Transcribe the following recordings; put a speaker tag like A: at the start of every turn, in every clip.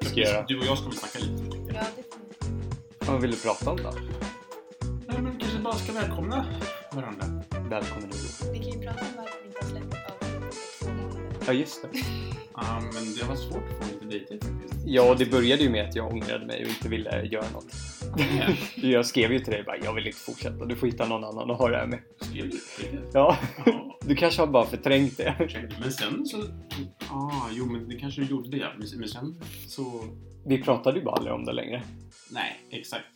A: ska göra.
B: Du och jag ska väl snacka lite. tänker jag.
C: Ja, definitivt.
A: Vad vill du prata om då?
B: Nej, men vi kanske bara ska välkomna varandra.
A: Välkommen Hugo.
C: Vi kan ju prata om varför vi inte har släppt ett avsnitt på två månader.
A: Ja, just det.
B: Ja, men det var svårt att få lite dejter faktiskt.
A: Ja, det började ju med att jag ångrade mig och inte ville göra något. Jag skrev ju till dig bara, jag vill inte fortsätta. Du får hitta någon annan att ha det här med.
B: Skrev du det?
A: Ja,
B: Ja,
A: du kanske har bara förträngt det.
B: ursäkta. Men sen så... Ah, jo, men det kanske du gjorde, ja. Men men sen så...
A: Vi pratade ju bara aldrig om det längre.
B: Nej, exakt.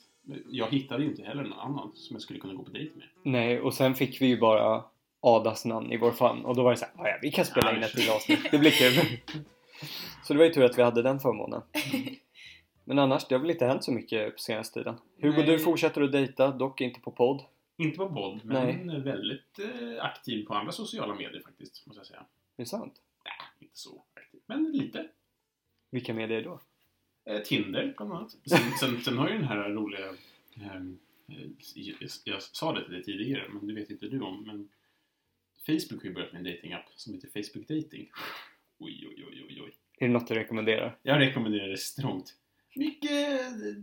B: Jag hittade ju inte heller någon annan som jag skulle kunna gå på dejt med.
A: Nej, och sen fick vi ju bara Adas namn i vår famn och då var det så här, "Ah, ja, vi kan spela
B: Ja,
A: in
B: vi
A: ett
B: kör."
A: till avsnitt, det blir kul. Så det var ju tur att vi hade den förmånen. Men annars, det har väl inte hänt så mycket på senaste tiden. Hugo,
B: Nej.
A: du fortsätter att dejta, dock inte på podd.
B: Inte på podd, men väldigt eh, aktiv på andra sociala medier faktiskt, måste jag säga.
A: Det är sant.
B: Inte så aktiv, men lite.
A: Vilka medier då?
B: Eh, Tinder, bland annat. Sen, sen, sen har ju den här roliga... Eh, eh, jag, jag sa det till dig tidigare, men det vet inte du om. Men Facebook har ju börjat med en datingapp som heter Facebook Dating. Oj, oj, oj, oj, oj.
A: Är det något du rekommenderar?
B: Jag rekommenderar det strångt. Mycket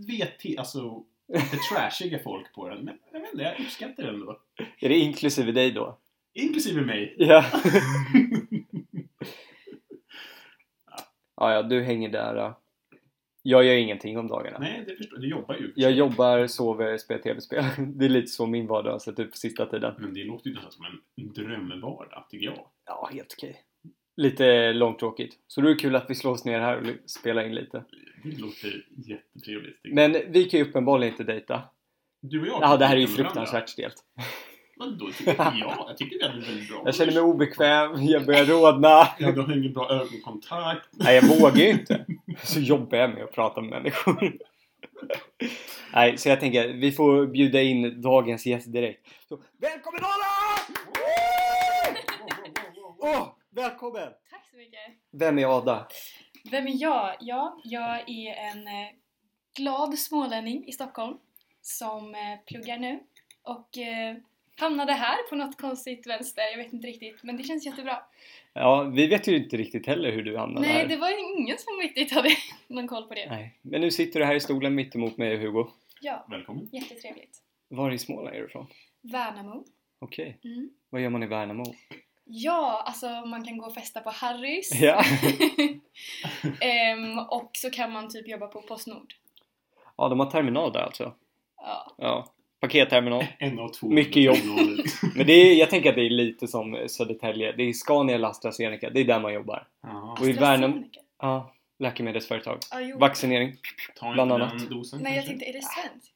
B: VT, alltså lite trashiga folk på den. Men jag vet inte, jag uppskattar den då.
A: Är det inklusive dig då?
B: Inklusive mig.
A: Ja. ja, ja, du hänger där. ja. Jag gör ingenting om dagarna.
B: Nej, det förstår jag. Du jobbar ju.
A: Jag jobbar, sover, spelar tv-spel. Det är lite så min vardag har sett ut på sista tiden.
B: Men det låter ju nästan som en drömvardag, tycker jag.
A: Ja, helt okej. Lite långtråkigt. Så det är kul att vi slår oss ner här och spelar in lite.
B: Det låter jättetrevligt. tycker jag.
A: Men vi kan ju uppenbarligen inte dejta.
B: Du och jag...
A: Ja, det här är ju
B: kan varandra.
A: fruktansvärt stelt.
B: Vadå? Tycker jag? Ja, jag tycker vi hade en väldigt bra...
A: Jag känner mig obekväm, jag börjar rodna.
B: Ja, du har ingen bra ögonkontakt.
A: Nej, jag vågar ju inte. Så jobbar jag med att prata med människor. Nej, så jag tänker vi får bjuda in dagens gäst direkt. Så, välkommen Ada! Åh, välkommen!
C: Tack så mycket.
A: Vem är Ada?
C: Vem är jag? Ja, jag är en eh, glad smålänning i Stockholm som eh, pluggar nu och eh, hamnade här på något konstigt vänster. Jag vet inte riktigt, men det känns jättebra.
A: Ja, vi vet ju inte riktigt heller hur du hamnade
C: Nej,
A: här.
C: det var ju ingen som riktigt hade någon koll på det.
A: Nej, men nu sitter du här i stolen mitt emot mig och Hugo.
C: Ja,
B: Välkommen.
C: jättetrevligt.
A: Var i Småland är du ifrån?
C: Värnamo.
A: Okej.
C: Mm.
A: Vad gör man i Värnamo?
C: Ja, alltså man kan gå och festa på Harrys.
A: Ja.
C: Ehm, och så kan man typ jobba på Postnord.
A: ja, de har terminal där alltså.
C: Ja.
A: Ja, paketterminal.
B: En av två.
A: Mycket jobb. Men det är, jag tänker att det är lite som Södertälje. Det är Scania eller AstraZeneca. Det är där man jobbar.
B: Ja,
A: Och i Värnamo-
C: AstraZeneca.
A: Ja, läkemedelsföretag.
C: Ja, jo.
A: Vaccinering.
B: ta inte
A: Bland
B: den
A: annat.
B: dosen
C: Nej, jag
B: kanske.
C: tänkte, är det svenskt?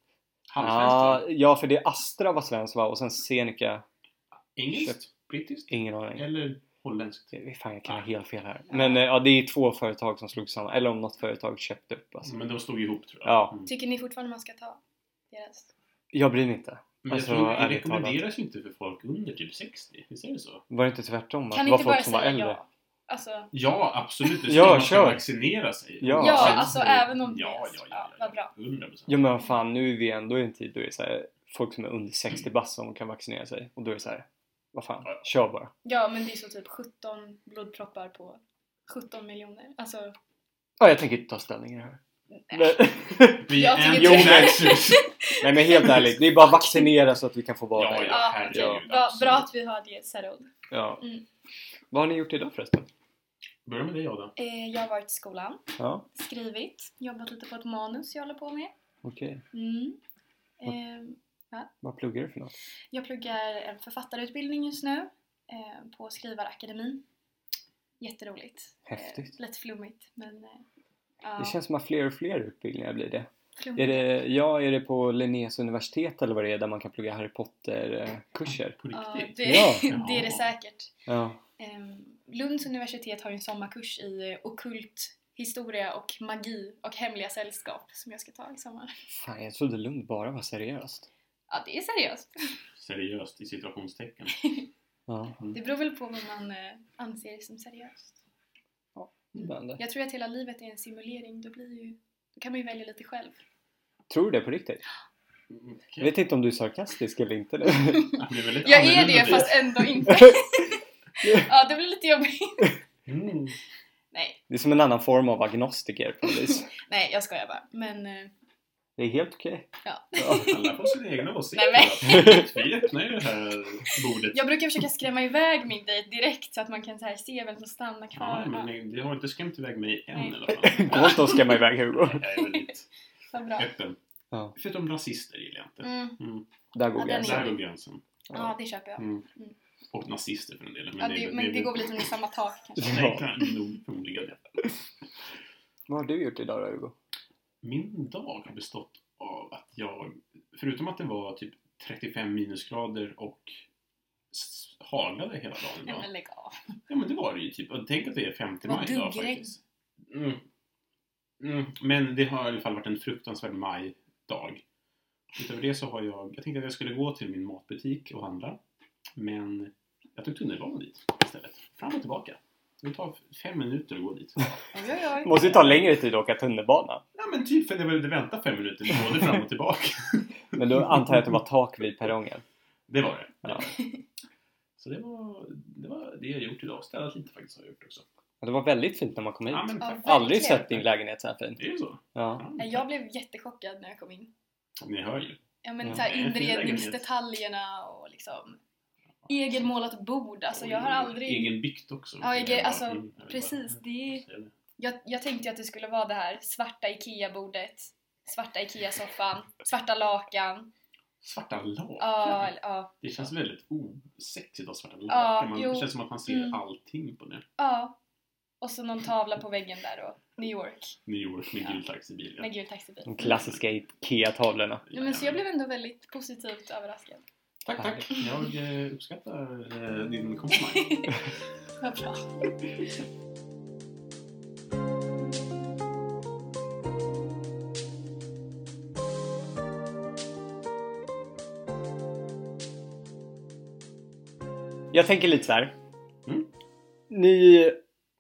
A: Ja,
B: Halvsvenskt?
A: Ah, ja, för det är Astra var svenskt va? Och sen Zeneca.
B: Engelskt? Brittiskt?
A: Ingen aning.
B: Eller holländskt?
A: Fan, jag kan ha
B: Ah.
A: helt fel här. Men eh, ja, det är två företag som slog samman. Eller om något företag köpte upp.
C: Mm.
A: Alltså.
B: Men de stod ihop tror jag.
A: Ja.
B: Mm.
C: Tycker ni fortfarande man ska ta deras?
A: Jag bryr mig inte.
B: Men
A: Alltså,
B: jag tror det
A: ärligt talat.
B: rekommenderas ju inte för folk under typ 60. Visst är det så?
A: Var det inte tvärtom? Att
C: Kan
A: det
C: ni
A: var
C: inte bara
A: folk som var
C: säga
A: äldre?
C: ja? Alltså,
B: Ja, absolut. Det
A: Ja,
B: ja, man ska
A: kör.
B: vaccinera sig.
A: Ja.
C: ja,
A: absolut.
C: alltså även om
B: Ja,
C: det
B: ja,
C: är
B: ja.
C: vad bra.
B: 100
A: Ja men vad fan, nu är vi ändå i en tid då det är så här, folk som är under 60 bast som kan vaccinera sig. Och då är det så här, vad fan, kör bara.
C: Ja, men det är så typ 17 blodproppar på 17 miljoner. Alltså,
A: Ja, jag tänker inte ta ställning i det här. Men,
B: Vi
C: Jag
B: är
C: tycker typ-
A: inte-
B: anti-vaxxers.
A: nej men helt ärligt, det är bara vaccinera så att vi kan få vara
B: Ja,
A: där.
B: ja.
C: ja,
B: herregud,
C: okej.
B: absolut.
C: Bra- Bra att vi har det särord.
A: Ja.
C: Mm.
A: Vad har ni gjort idag förresten?
B: Börja med dig Adam.
C: Eh, jag har varit i skolan,
A: Ja,
C: skrivit, jobbat lite på ett manus jag håller på med.
A: okej.
C: Mm. Ehm,
A: Vad pluggar du för något?
C: Jag pluggar en författarutbildning just nu eh, på Skrivarakademin. Jätteroligt.
A: Häftigt.
C: Eh, lite flummigt men... Eh, ja,
A: Det känns som att fler och fler utbildningar blir det.
C: flummigt.
A: Är det, ja, är det på Linnés universitet eller vad det är där man kan plugga Harry Potter-kurser?
B: På
C: Ja,
B: riktigt?
C: det,
A: Ja.
C: det är det säkert.
A: Ja.
C: Ehm, Lunds universitet har ju en sommarkurs i eh, ockult historia och magi och hemliga sällskap som jag ska ta i sommar.
A: Fan, jag trodde Lund bara var seriöst.
C: Ja, det är seriöst.
B: Seriöst i situationstecken.
A: Ja.
C: Det beror väl på vad man eh, anser som seriöst. Mm.
A: Spännande.
C: Jag tror att hela livet är en simulering, då, blir ju, då kan man ju välja lite själv.
A: Tror du det på riktigt? Jag
B: Okay.
A: vet inte om du är sarkastisk eller inte. nu.
C: Jag är det fast ändå inte. ja, det blir lite jobbigt.
B: Mm.
C: Nej,
A: Det är som en annan form av agnostiker på något vis.
C: Nej, jag skojar bara. Men eh,
A: Det är helt okej.
C: ja.
A: Ja.
B: Alla får sina egna åsikter.
C: Nej,
B: Vi öppnar ju det här bordet.
C: Jag brukar försöka skrämma iväg min dejt direkt så att man kan så här, se vem som stannar kvar.
B: Ja, men det har inte skrämt iväg mig än
C: Nej.
B: i alla fall.
A: Gå inte och skrämma iväg Hugo.
B: Jag är väldigt
C: Vad bra.
B: öppen.
A: Ja.
B: Förutom rasister gillar jag inte.
C: Mm.
B: Mm.
A: Där går
C: Ja, den är
A: gränsen.
B: Där
C: jobbig.
B: går gränsen.
C: Ja, det köper jag.
B: Mm.
C: Mm.
B: Och nazister för den delen.
C: Ja, det, men det går väl lite under samma tak kanske.
B: Nej, kan- nog förmodligen.
A: Vad har du gjort idag då Hugo?
B: Min dag har bestått av att jag, förutom att det var typ 35 minusgrader och s- haglade hela dagen
C: Nej, men
B: idag.
C: lägg av.
B: Ja men det var det ju typ. Och tänk att det är 5
C: Vad
B: maj idag
C: duggregn.
B: faktiskt. Mm. Mm. Men det har i alla fall varit en fruktansvärd majdag. Utöver det så har jag, jag tänkte att jag skulle gå till min matbutik och handla. Men jag tog tunnelbanan dit istället. Fram och tillbaka. Det tar fem minuter att gå dit.
C: Oj, oj, oj.
A: Det måste ju ta längre tid att åka tunnelbana.
B: Ja men typ för att jag behövde vänta fem minuter både fram och tillbaka.
A: Men då antar jag att det var tak vid perrongen.
B: Det var det.
A: Ja.
B: Så det var, det var det jag gjort idag. Städat lite faktiskt har jag gjort också.
A: Ja, Det var väldigt fint när man kom hit.
B: Ja men
C: Ja,
B: tack.
A: Aldrig
C: verkligen.
A: sett din lägenhet så här fin.
B: Det är ju så.
A: Ja.
B: Ja,
C: Nej, Jag blev jättechockad när jag kom in.
B: Ni hör ju.
C: Ja men
A: Ja.
C: så här,
B: Det är en fin
C: inredningsdetaljerna och liksom egenmålat bord. Alltså jag har aldrig...
B: Egenbyggt också.
C: Ja, egen- alltså,
B: Mm, jag vet
C: Precis,
B: bara.
C: det är...
B: Så är det.
C: jag, jag tänkte ju att det skulle vara det här svarta IKEA-bordet, svarta IKEA-soffan, svarta lakan.
B: Svarta lakan.
C: Ja, eller- ja,
B: Det känns väldigt osexigt att ha svarta lakan. Man,
C: jo.
B: det känns som att man ser
C: Mm.
B: allting på det.
C: ja. Och så någon tavla på väggen där då. New York
B: New York med
C: Ja.
B: gul taxibil.
C: med gul taxibil.
A: De klassiska IKEA-tavlorna.
C: Nej, men så jag blev ändå väldigt positivt överraskad.
B: Tack, tack. Jag eh, uppskattar eh,
C: Mm.
B: din komplimang.
C: Vad bra.
A: Jag tänker lite så här.
B: Mm.
A: Ni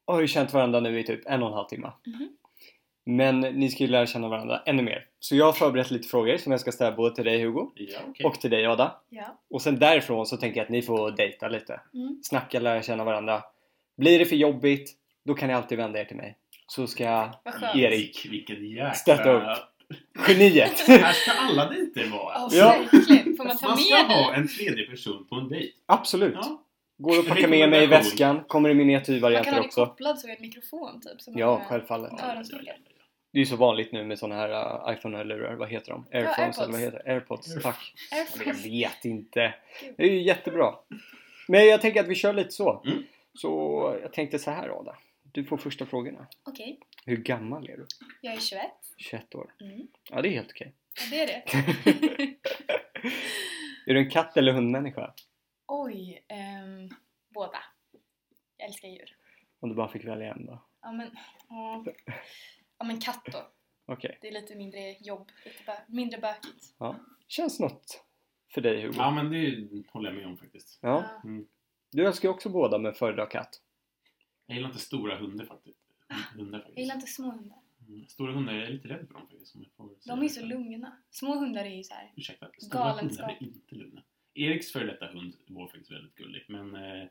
A: har ju känt varandra nu i typ en och en halv timme.
B: Mm-hmm.
C: Mhm.
A: Men ni ska ju lära känna varandra ännu mer. Så jag har förberett lite frågor som jag ska ställa både till dig Hugo
B: ja, okej.
A: och till dig Ada.
C: Ja.
A: Och sen därifrån så tänker jag att ni får dejta lite.
C: Mm.
A: Snacka, lära känna varandra. Blir det för jobbigt, då kan ni alltid vända er till mig. Så ska jag...
C: Vad skönt.
A: Erik.
B: Vilken jäkla...
A: Stötta upp. Geniet!
B: Här ska alla dejter vara.
C: Ja,
A: Ja.
C: verkligen. Får man ta
B: Man ska
C: med
B: ha
C: dig?
B: en tredje person på en dejt.
A: Absolut!
B: Ja.
A: Går och packa med mig i väskan. Kommer i
C: Man kan ha
A: miniatyrvarianter
C: det
A: också.
C: kopplad så i en mikrofon typ. så man
A: Ja,
C: kan-
A: självfallet.
C: Ja. Öronsnurren.
A: Det är ju så vanligt nu med såna här uh, iPhone-hörlurar. Vad heter de? Airphones
C: AirPods.
A: eller vad heter det? Airpods,
B: Airpods.
A: tack. Jag
C: Airfryer.
A: vet inte. Det är ju jättebra. Men jag tänker att vi kör lite så.
B: Mm.
A: Så jag tänkte så här Ada. Du får första frågorna.
C: Okej,
A: Hur gammal är du?
C: jag är 21.
A: 21 år.
C: Mm.
A: Ja, det är helt okej.
C: Ja, det är det.
A: Är du en katt eller hundmänniska?
C: Oj, ehm, båda. Jag älskar djur.
A: Om du bara fick välja en då.
C: Ja men, ja. ja men katt då.
A: Okej.
C: Det är lite mindre jobb, lite bö- mindre bökigt.
A: Känns något för dig Hugo?
B: Ja, men det håller jag med om faktiskt.
A: Ja.
B: Mm.
A: Du älskar ju också båda men föredrar katt.
B: Jag gillar inte stora hundar faktiskt. Hundar,
C: Jag
B: faktiskt.
C: gillar inte små hundar.
B: Mm. Stora hundar, jag är lite rädd för dem faktiskt. om jag får säga
C: De är ju så
B: det.
C: lugna. Små hundar är ju så här.
B: Ursäkta, stora
C: Galenskap.
B: hundar är inte lugna. Eriks före detta hund var faktiskt väldigt gullig, men eh,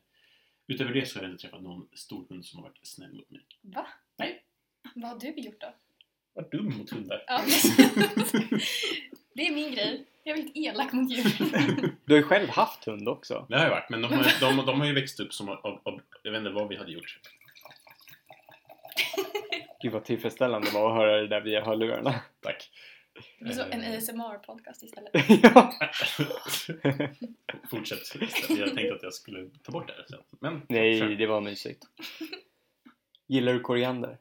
B: utöver det så har jag inte träffat någon stor hund som har varit snäll mot mig.
C: va?
B: Nej.
C: Vad har du gjort då?
B: Vad dum mot hundar.
C: Ja, precis. det är min grej. Jag är väldigt elak mot djur.
A: Du har ju själv haft hund också.
B: Det har jag varit, men de har, de, de har ju växt upp som av, av, av, jag vet inte vad vi hade gjort.
A: Gud vad tillfredsställande det var att höra det där via hörlurarna.
B: Tack.
C: Det blir så en
B: Eh,
C: ASMR-podcast istället.
A: ja.
B: Fortsätt. Jag tänkte att jag skulle ta bort det här sen. Men,
A: Nej,
B: kör.
A: det var mysigt. Gillar du koriander?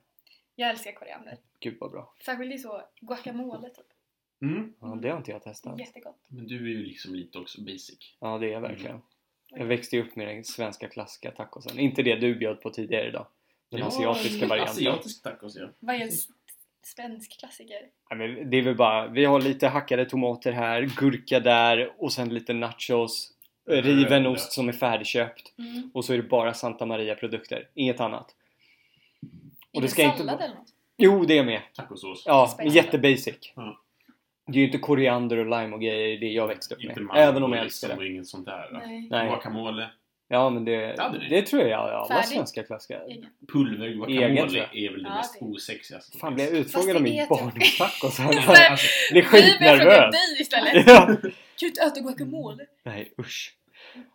C: Jag älskar koriander.
A: Gud vad bra.
C: Särskilt i så guacamole typ.
B: Mm.
A: Ja, det har inte jag testat.
C: Jättegott.
B: Men du är ju liksom lite också basic.
A: Ja, det är jag verkligen.
B: Mm.
A: Jag växte ju upp med den svenska klassiska tacosen. Inte det du bjöd på tidigare idag. Den
B: Ja,
A: asiatiska varianten.
B: Asiatisk tacos, ja.
C: Vad är en s- svensk klassiker?
A: Ja, men det är väl bara, vi har lite hackade tomater här, gurka där och sen lite nachos. Riven
B: Röda.
A: ost som är färdigköpt.
C: Mm.
A: Och så är det bara Santa Maria produkter, inget annat. Och det
C: Ingen
A: ska inte
C: sallad
A: vara-
C: eller något?
A: Jo, det är med.
B: Tacosås.
A: Ja, men
C: Spännande.
A: jättebasic.
B: Ja.
A: Det är ju inte koriander och lime och grejer det jag växte upp
B: Inte
A: med.
B: mango,
A: Även om jag
B: liksom,
A: älskar det.
B: och inget sånt där. va?
C: Nej.
A: Nej.
B: Guacamole.
A: Ja, men det,
B: Hade ni?
A: det tror jag alla
C: Färdig.
A: svenska klassiker.
B: Pulver
A: Egen, tror
B: guacamole
A: jag.
B: är väl det
C: Ja,
B: mest
C: det-
B: osexigaste. som
A: Fan,
B: finns.
A: blev jag utfrågad om
C: det
A: min
C: vet jag.
A: barndomstacos?
C: Nej.
B: Alltså,
A: Blir
C: Vi börjar
A: skitnervös!
C: fråga dig istället.
A: Ja.
C: Kan du inte äta guacamole?
A: Nej, usch.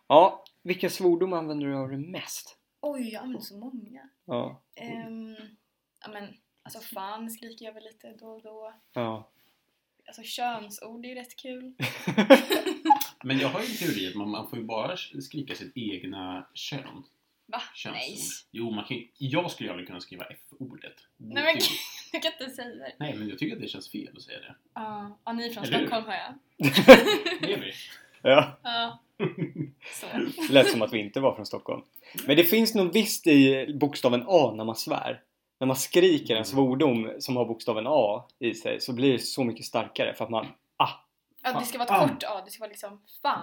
A: Ja, vilka svordomar använder du av det mest?
C: Oj, jag använder så många.
A: Ja,
C: Ehm, ja men, alltså fan skriker jag väl lite då och då.
A: ja.
C: Alltså könsord är ju rätt kul.
B: men jag har ju en teori att man, man får ju bara skrika sitt egna kön.
C: Va?
B: Könsord.
C: Nej.
B: Jo, man kan, ju- jag skulle aldrig kunna skriva F-ordet.
C: Nej, men- Du kan inte säga det.
B: Nej, men jag tycker att det känns fel att säga det.
C: Ja, ja, ni är från
B: Eller hur?
C: Stockholm hör jag.
B: Det är vi.
A: ja.
C: Ja. Så.
A: Det lät som att vi inte var från Stockholm. Men det finns något visst i bokstaven A när man svär. När man skriker en svordom som har bokstaven A i sig så blir det så mycket starkare för att man ah,
C: Ja, det ska vara
B: Fan.
C: ett kort A, det ska vara liksom fan.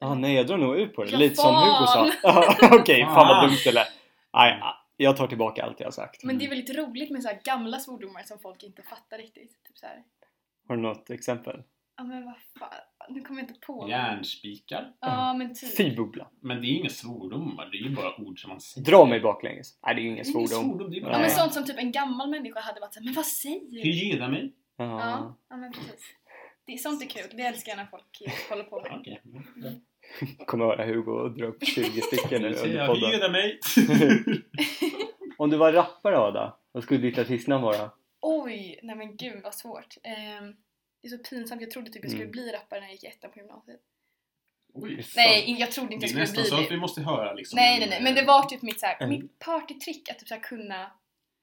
A: ah nej jag drar nog ut på det.
C: Ja,
A: Lite som
C: fan.
A: Hugo sa. Ja, Okej, fan vad
B: Fan.
A: dumt det lät. Nej, ah, jag tar tillbaka allt jag har sagt.
C: Men det är
B: Mm.
C: väldigt roligt med så här gamla svordomar som folk inte fattar riktigt. Typ så här.
A: Har du något exempel?
C: Ja men vad fan, nu kommer jag inte på.
B: Järnspikar.
C: Ja men typ.
A: Fy bubbla.
B: Men det är inga svordomar, det är ju bara ord som man säger.
A: Dra mig baklänges. Nej, det är ju ingen
B: Det är ingen
A: svordom.
B: svordom, det är bara...
C: Ja men
A: Nej.
C: sånt som typ en gammal människa hade varit såhär, men vad säger du?
B: Hygiena mig.
A: Ja.
C: Ja, ja men precis. Det, sånt är kul, det älskar jag när folk håller på med.
B: Okej.
A: Kommer höra Hugo dra upp 20 stycken nu
B: Nu säger
A: under
B: jag
A: podden.
B: hygiena mig.
A: Om du var rappare Ada, vad skulle ditt artistnamn vara?
C: Oj, nej men gud vad svårt. Ehm, det är så pinsamt, jag trodde typ jag skulle
A: Mm.
C: bli rappare när jag gick i ettan på gymnasiet.
B: Oj.
C: Nej, in- jag trodde
B: Det
C: inte
B: är
C: jag
B: nästan
C: skulle
B: så
C: bli
B: att
C: det.
B: vi måste höra liksom...
C: Nej
B: en-
C: nej nej, men det var typ mitt, så här,
A: Mm.
C: mitt partytrick att typ så här, kunna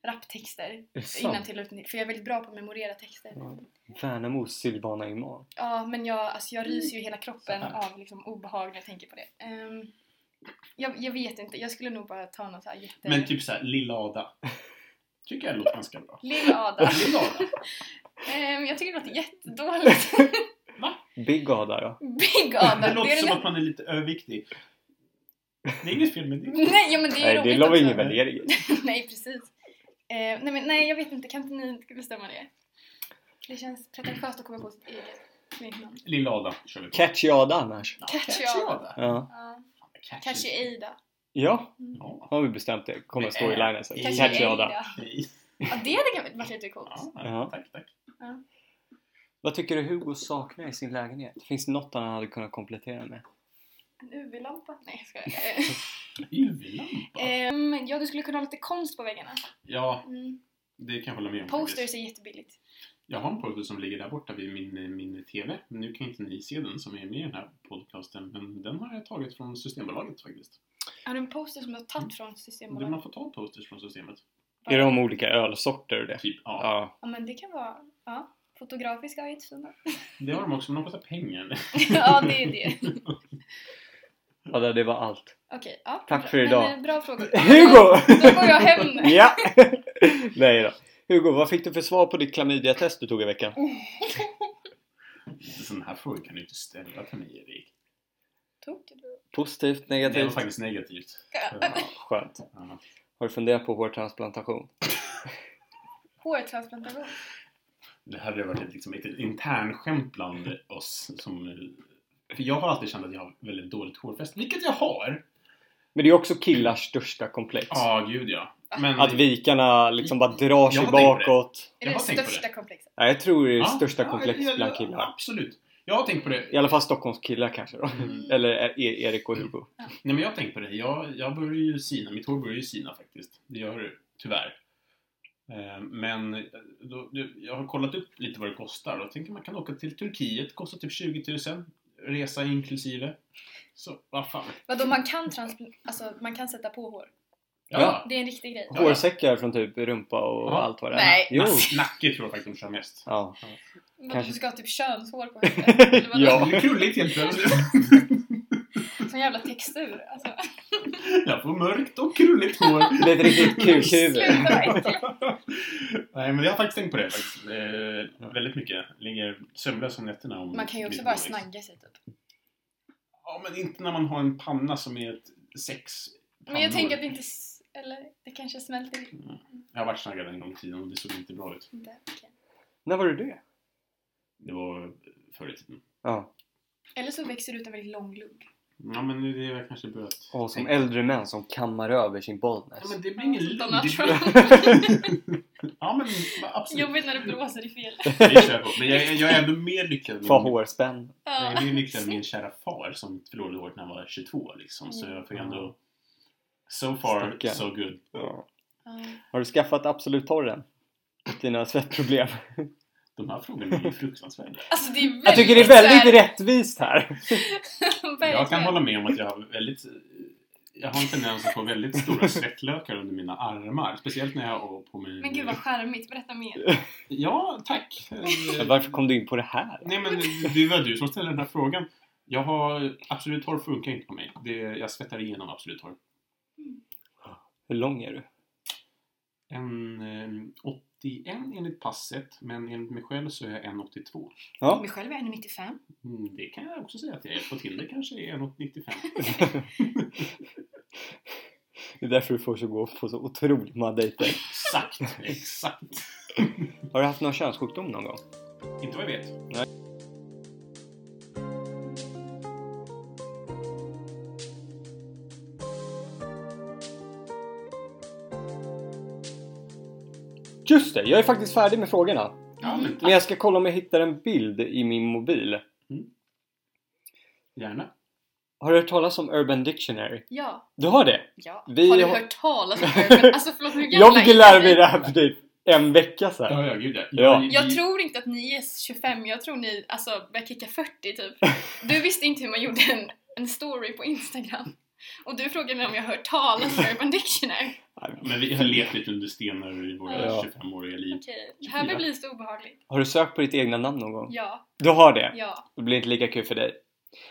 C: rapptexter
A: Är det sant?
C: innan till och utan till. För jag är väldigt bra på att memorera texter.
B: Mm.
A: Ja. Värnamos Silvana Imam.
C: Ja, men jag, alltså jag ryser ju hela kroppen
B: Så här.
C: av liksom obehag när jag tänker på det. Ehm, jag, jag vet inte, jag skulle nog bara ta något så här jätte...
B: Men typ såhär, Lilla Ada. Tycker jag låter ganska bra.
C: Lilla Ada.
B: Lilla Ada.
C: Ehm, jag tycker det låter jättedåligt.
A: Big Ada då?
C: Big Ada.
B: Det låter
C: är
B: som
C: den-
B: att man är lite överviktig. Det är inget fel med det.
C: Nej, ja, men det är ju
A: Nej, det
C: roligt
A: la vi
C: också.
A: ingen värdering i.
C: Nej, precis. Ehm, nej, men nej, jag vet inte. Kan inte ni bestämma det? Det känns pretentiöst att komma på sitt eget smeknamn.
B: Lilla Ada kör vi på.
A: Catchy Ada annars.
C: Catchy
B: Ada.
A: Ja.
C: Ja,
B: Catchy.
C: kanske Ada.
A: ja,
C: Mm.
B: Ja.
A: har vi bestämt det. Kommer att stå i linen sen.
B: Catchy
A: Catchy Ada.
C: Ada.
B: Nej.
C: Ja, det hade varit lite coolt.
B: Ja, tack, tack.
A: Vad tycker du Hugo saknar i sin lägenhet? Finns det något han hade kunnat komplettera med?
C: En UV-lampa? Nej, jag skojar.
B: UV-lampa.
C: Ehm, ja, du skulle kunna ha lite konst på väggarna.
B: Ja,
C: Mm.
B: det kan jag hålla med om.
C: Posters är jättebilligt.
B: Jag har en poster som ligger där borta vid min, min TV. Nu kan inte ni se den som är med i den här podcasten, men den har jag tagit från Systembolaget faktiskt.
C: Har du en poster som du har tagit från
B: Där man
C: Systembolaget?
B: får ta posters från Systemet.
A: Är det om olika ölsorter och det?
B: Typ, ja.
A: Ja.
C: Ja, men det kan vara... Ja, fotografiska är jättefina.
B: Det har de också, men de kostar pengar.
C: ja, det är det. Okej,
A: Ada, det var allt.
C: ja.
A: Tack
C: bra.
A: för idag.
C: Men, eh, bra fråga.
A: Hugo!
C: Då går jag hem nu.
A: Ja! Nej då. Hugo, vad fick du för svar på ditt klamydiatest du tog i veckan?
B: Sådana här frågor kan du inte ställa till mig, Erik.
C: Tog du?
A: Positivt,
B: Det var
A: negativt?
B: faktiskt negativt.
A: Ja, skönt.
B: Ja.
A: Har du funderat på hårtransplantation?
C: Hårtransplantation.
B: Det här hade varit liksom ett internskämt bland oss. Som, för jag har alltid känt att jag har väldigt dåligt hårfäste, vilket jag har!
A: Men det är också killars största komplex.
B: Ja, gud ja. Men
A: Att vikarna liksom bara drar sig
B: Mm. Jag har tänkt på det.
A: bakåt.
C: Är
B: Jag
C: det det
B: har tänkt på
C: största komplexet?
A: Ja, jag tror det är det
B: Ja,
A: största
B: ja,
A: komplex
B: ja, ja,
A: bland killar.
B: Absolut. Jag har tänkt på det.
A: I alla fall Stockholms killar kanske då.
C: Mm.
A: Eller E- Erik och Hugo.
B: Nej, men jag har tänkt på det. Jag, jag börjar ju sina. Mitt hår börjar ju sina faktiskt. Det gör det, tyvärr. Eh, Men då, då- jag har kollat upp lite vad det kostar. Jag tänker man kan åka till Turkiet. Kostar typ 20 000. Resa inklusive. Så, vad fan.
C: Vadå, man kan, transpl- alltså, man kan sätta på hår?
A: Ja.
C: Det är en riktig grej.
B: Ja.
A: Hårsäckar från typ rumpa och
B: Ja.
A: allt vad det är.
C: Nej. Alltså.
B: Nack-
A: Jo.
B: Nacke tror jag faktiskt de kör mest.
A: Ja.
C: Vadå,
A: Kanske.
C: du ska ha typ könshår på huvudet? Eller vadå?
A: Ja.
B: Det är krulligt helt plötsligt.
C: Sån jävla textur. Alltså,
B: Jag får mörkt och krulligt hår.
A: Det är ett riktigt kukhuvud.
C: sluta vara äcklig.
B: Nej, men jag har faktiskt tänkt på det faktiskt. Eh, väldigt mycket. Ligger sömnlös om nätterna. Om
C: Man kan ju också
B: mitt
C: bara
B: hår liksom. växer.
C: snagga sig typ.
B: Ja, men inte när man har en panna som är ett sex
C: Men jag
B: pannor.
C: tänker att det inte... s- Eller det kanske smälter
B: Jag har varit snaggad en gång i tiden och det såg inte bra ut.
C: inte. Okej.
A: När var det det?
B: Det var förr i tiden.
A: Ja.
C: Eller så växer det ut en väldigt lång lugg.
B: Ja, men nu är det kanske börjat...
A: Och som äldre män som kammar över sin
B: Ja,
A: bollnäs.
B: men det blir ingen
C: Som
B: lugn.
C: Alltså, Donald
B: Det- ja, men absolut.
C: Jobbigt när det blåser i fel.
B: Vi kör på. Men jag, jag- jag är ändå mer lyckad med
A: Få
B: min-
A: hårspänn.
B: jag
C: Ja.
B: är mer lyckad med min kära far som förlorade håret när han var 22 liksom. Så jag fick ändå... So far,
A: Stackarn.
B: so good.
C: Ja.
A: Har du skaffat Absolut Torren? Dina svettproblem.
B: De här frågorna är ju fruktansvärda.
C: Alltså det är väldigt
A: Jag tycker det är väldigt rättvist här.
B: Jag kan hålla med om att jag har väldigt... Jag har en tendens att få väldigt stora svettlökar under mina armar. Speciellt när jag har på mig...
C: Men gud vad charmigt, berätta mer.
B: Ja, tack! Mm.
A: Men Varför kom du in på det här?
B: Nej men det var du som ställde den här frågan. Jag har... Absolut torr funkar inte på mig. Det, jag svettar igenom absolut torr.
A: Hur lång är du?
B: En eh, 81 enligt passet, men enligt mig själv så är jag 1,82.
A: Ja.
C: Mig själv är 1,95.
B: Mm, det kan jag också säga att jag är. På Tinder kanske jag är 1,95.
A: Det är därför du får så gå på så otroligt många dejter.
B: Exakt, exakt.
A: Har du haft någon könssjukdom någon gång?
B: Inte vad jag vet.
A: Just det, jag är faktiskt färdig med frågorna.
B: Ja, men
A: Men jag ska kolla om jag hittar en bild i min mobil.
B: gärna.
A: Har du hört talas om Urban Dictionary?
C: Ja,
A: Du har det?
C: ja.
A: Vi
C: har du
A: har-
C: hört talas om Urban? Alltså förlåt, hur gamla
A: Jag fick ju
C: är
A: lära
C: ni?
A: mig det här för typ en vecka sedan.
B: Ja, ja, gud ja.
A: Ja.
C: Jag tror inte att ni är 25, jag tror ni alltså börjar kicka 40 typ. Du visste inte hur man gjorde en, en story på Instagram. Och du frågade mig om jag hört talas om Urban Dictionary.
B: Men vi har levt lite under stenar i våra
A: Ja.
B: 25-åriga
A: Typ.
B: liv.
C: Okej, det här börjar bli så obehagligt.
A: Har du sökt på ditt egna namn någon gång?
C: Ja,
A: Du har det?
C: ja.
A: Det blir inte lika kul för dig.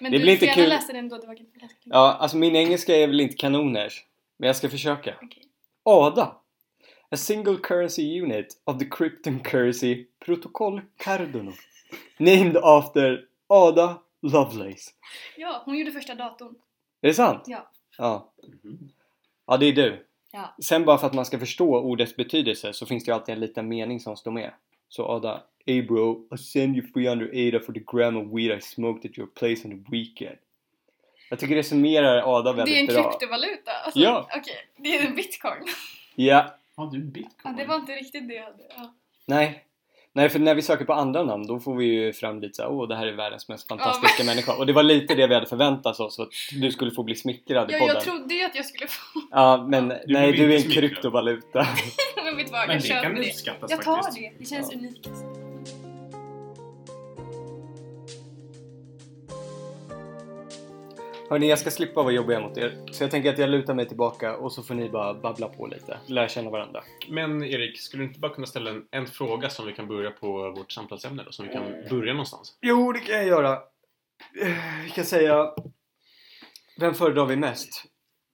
C: Men
A: Det
C: du
A: blir
C: får
A: inte
C: gärna
A: kul.
C: läsa den då, det var ganska kul.
A: Ja, alltså min engelska är väl inte kanoners. Men jag ska försöka.
C: Okej.
A: ADA. A single currency unit of the cryptocurrency protocol Cardano. Named after Ada Lovelace.
C: Ja, hon gjorde första datorn.
A: Är det sant?
C: Ja.
A: Ja,
B: Mhm.
A: ja det är du.
C: Ja.
A: Sen bara för att man ska förstå ordets betydelse så finns det ju alltid en liten mening som står med. Så Ada, Hey bro, I send you 300 Ada for the gram of weed I smoked at your place on the weekend. Jag tycker det summerar Ada
C: Det är en
A: väldigt bra.
C: kryptovaluta. Alltså,
A: Ja.
C: Okej, det är en bitcoin.
A: Ja,
B: Har du bitcoin?
C: Ja, det var inte riktigt det jag hade. Ja.
A: nej. Nej, för när vi söker på andra namn då får vi ju fram lite såhär, åh det här är världens mest fantastiska människa. Och det var lite det vi hade förväntat oss, att du skulle få bli smickrad i
C: Ja,
A: podden.
C: jag trodde ju att jag skulle få...
A: Ja, men
B: Du
A: nej,
B: blir
A: du är en
B: inte smickrad.
A: kryptovaluta.
C: Men vet du vad,
B: Men
C: jag
B: det kan
C: köper det.
B: uppskattas
C: Jag tar
B: faktiskt.
C: det, det känns
A: Ja.
C: unikt.
A: Hörni, jag ska slippa vara jobbig mot er. Så jag tänker att jag lutar mig tillbaka och så får ni bara babbla på lite. Lära känna varandra.
B: Men Erik, skulle du inte bara kunna ställa en, en fråga som vi kan börja på vårt samtalsämne då? Som vi kan börja någonstans?
A: Jo, det kan jag göra. Eh, Vi kan säga... Vem föredrar vi mest?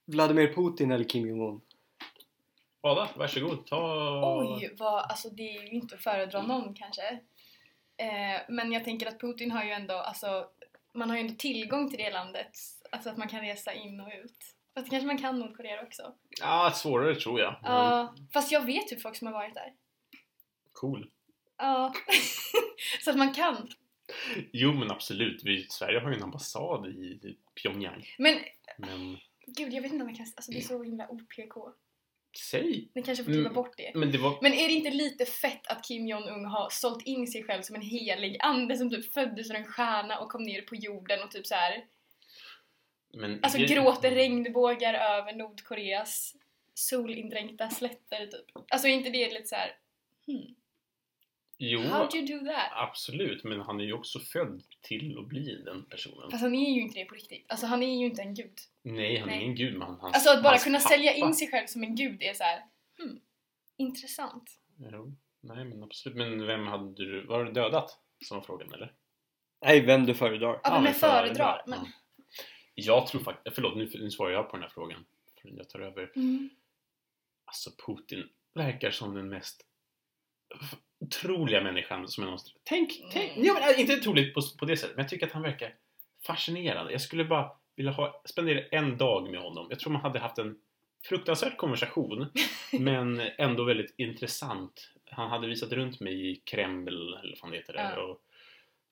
A: Vladimir Putin eller Kim Jong-Un?
B: Ada, varsågod. Ta...
C: Oj, vad, alltså det är ju inte att föredra någon kanske. Eh, men jag tänker att Putin har ju ändå, alltså, man har ju ändå tillgång till det landet. Alltså att man kan resa in och ut. Fast det kanske man kan Nordkorea också.
B: Ja, svårare tror jag. Men
C: Ja, fast jag vet typ folk som har varit där.
B: Cool.
C: Ja. Så att man kan.
B: Jo, men absolut. Vi, Sverige har ju en ambassad i Pyongyang.
C: Men
B: Men
C: gud, jag vet inte om jag kan, alltså det är så himla OPK.
B: säg!
C: Ni kanske får kliva
B: Mm.
C: bort det.
B: Men det var...
C: Men är det inte lite fett att Kim Jong-Un har sålt in sig själv som en helig ande som typ föddes ur en stjärna och kom ner på jorden och typ så här
B: Men
C: Alltså gråter regnbågar över Nordkoreas solindränkta slätter typ. Alltså är inte det lite så här. Hmm,
B: Jo,
C: how'd you do that?
B: absolut. Men han är ju också född till att bli den personen.
C: Fast han är ju inte det på riktigt. Alltså han är ju inte en gud.
B: Nej, han är
C: Nej.
B: ingen gud. Men hans,
C: Alltså att bara
B: hans
C: kunna
B: pappa-
C: sälja in sig själv som en gud är så här. Hmm, intressant.
B: Jo, nej, men absolut. Men vem hade du... Var det dödat? Som var frågan, eller?
A: Nej, vem du föredrar.
C: Ja, vem
B: men
C: jag föredrar. Men,
B: Ja. Jag tror faktiskt... Förlåt, nu, nu svarar jag på den här frågan. För Jag tar över.
C: mm,
B: Alltså, Putin verkar som den mest f- otroliga människan som jag någonsin... Tänk, tänk!
C: Mm.
B: Ja, men, äh, inte otroligt på, på det sättet, men jag tycker att han verkar fascinerande. Jag skulle bara vilja ha, spendera en dag med honom. Jag tror man hade haft en fruktansvärd konversation, men ändå väldigt intressant. Han hade visat runt mig i Kreml, eller vad fan det heter, där,
C: Ja.
B: och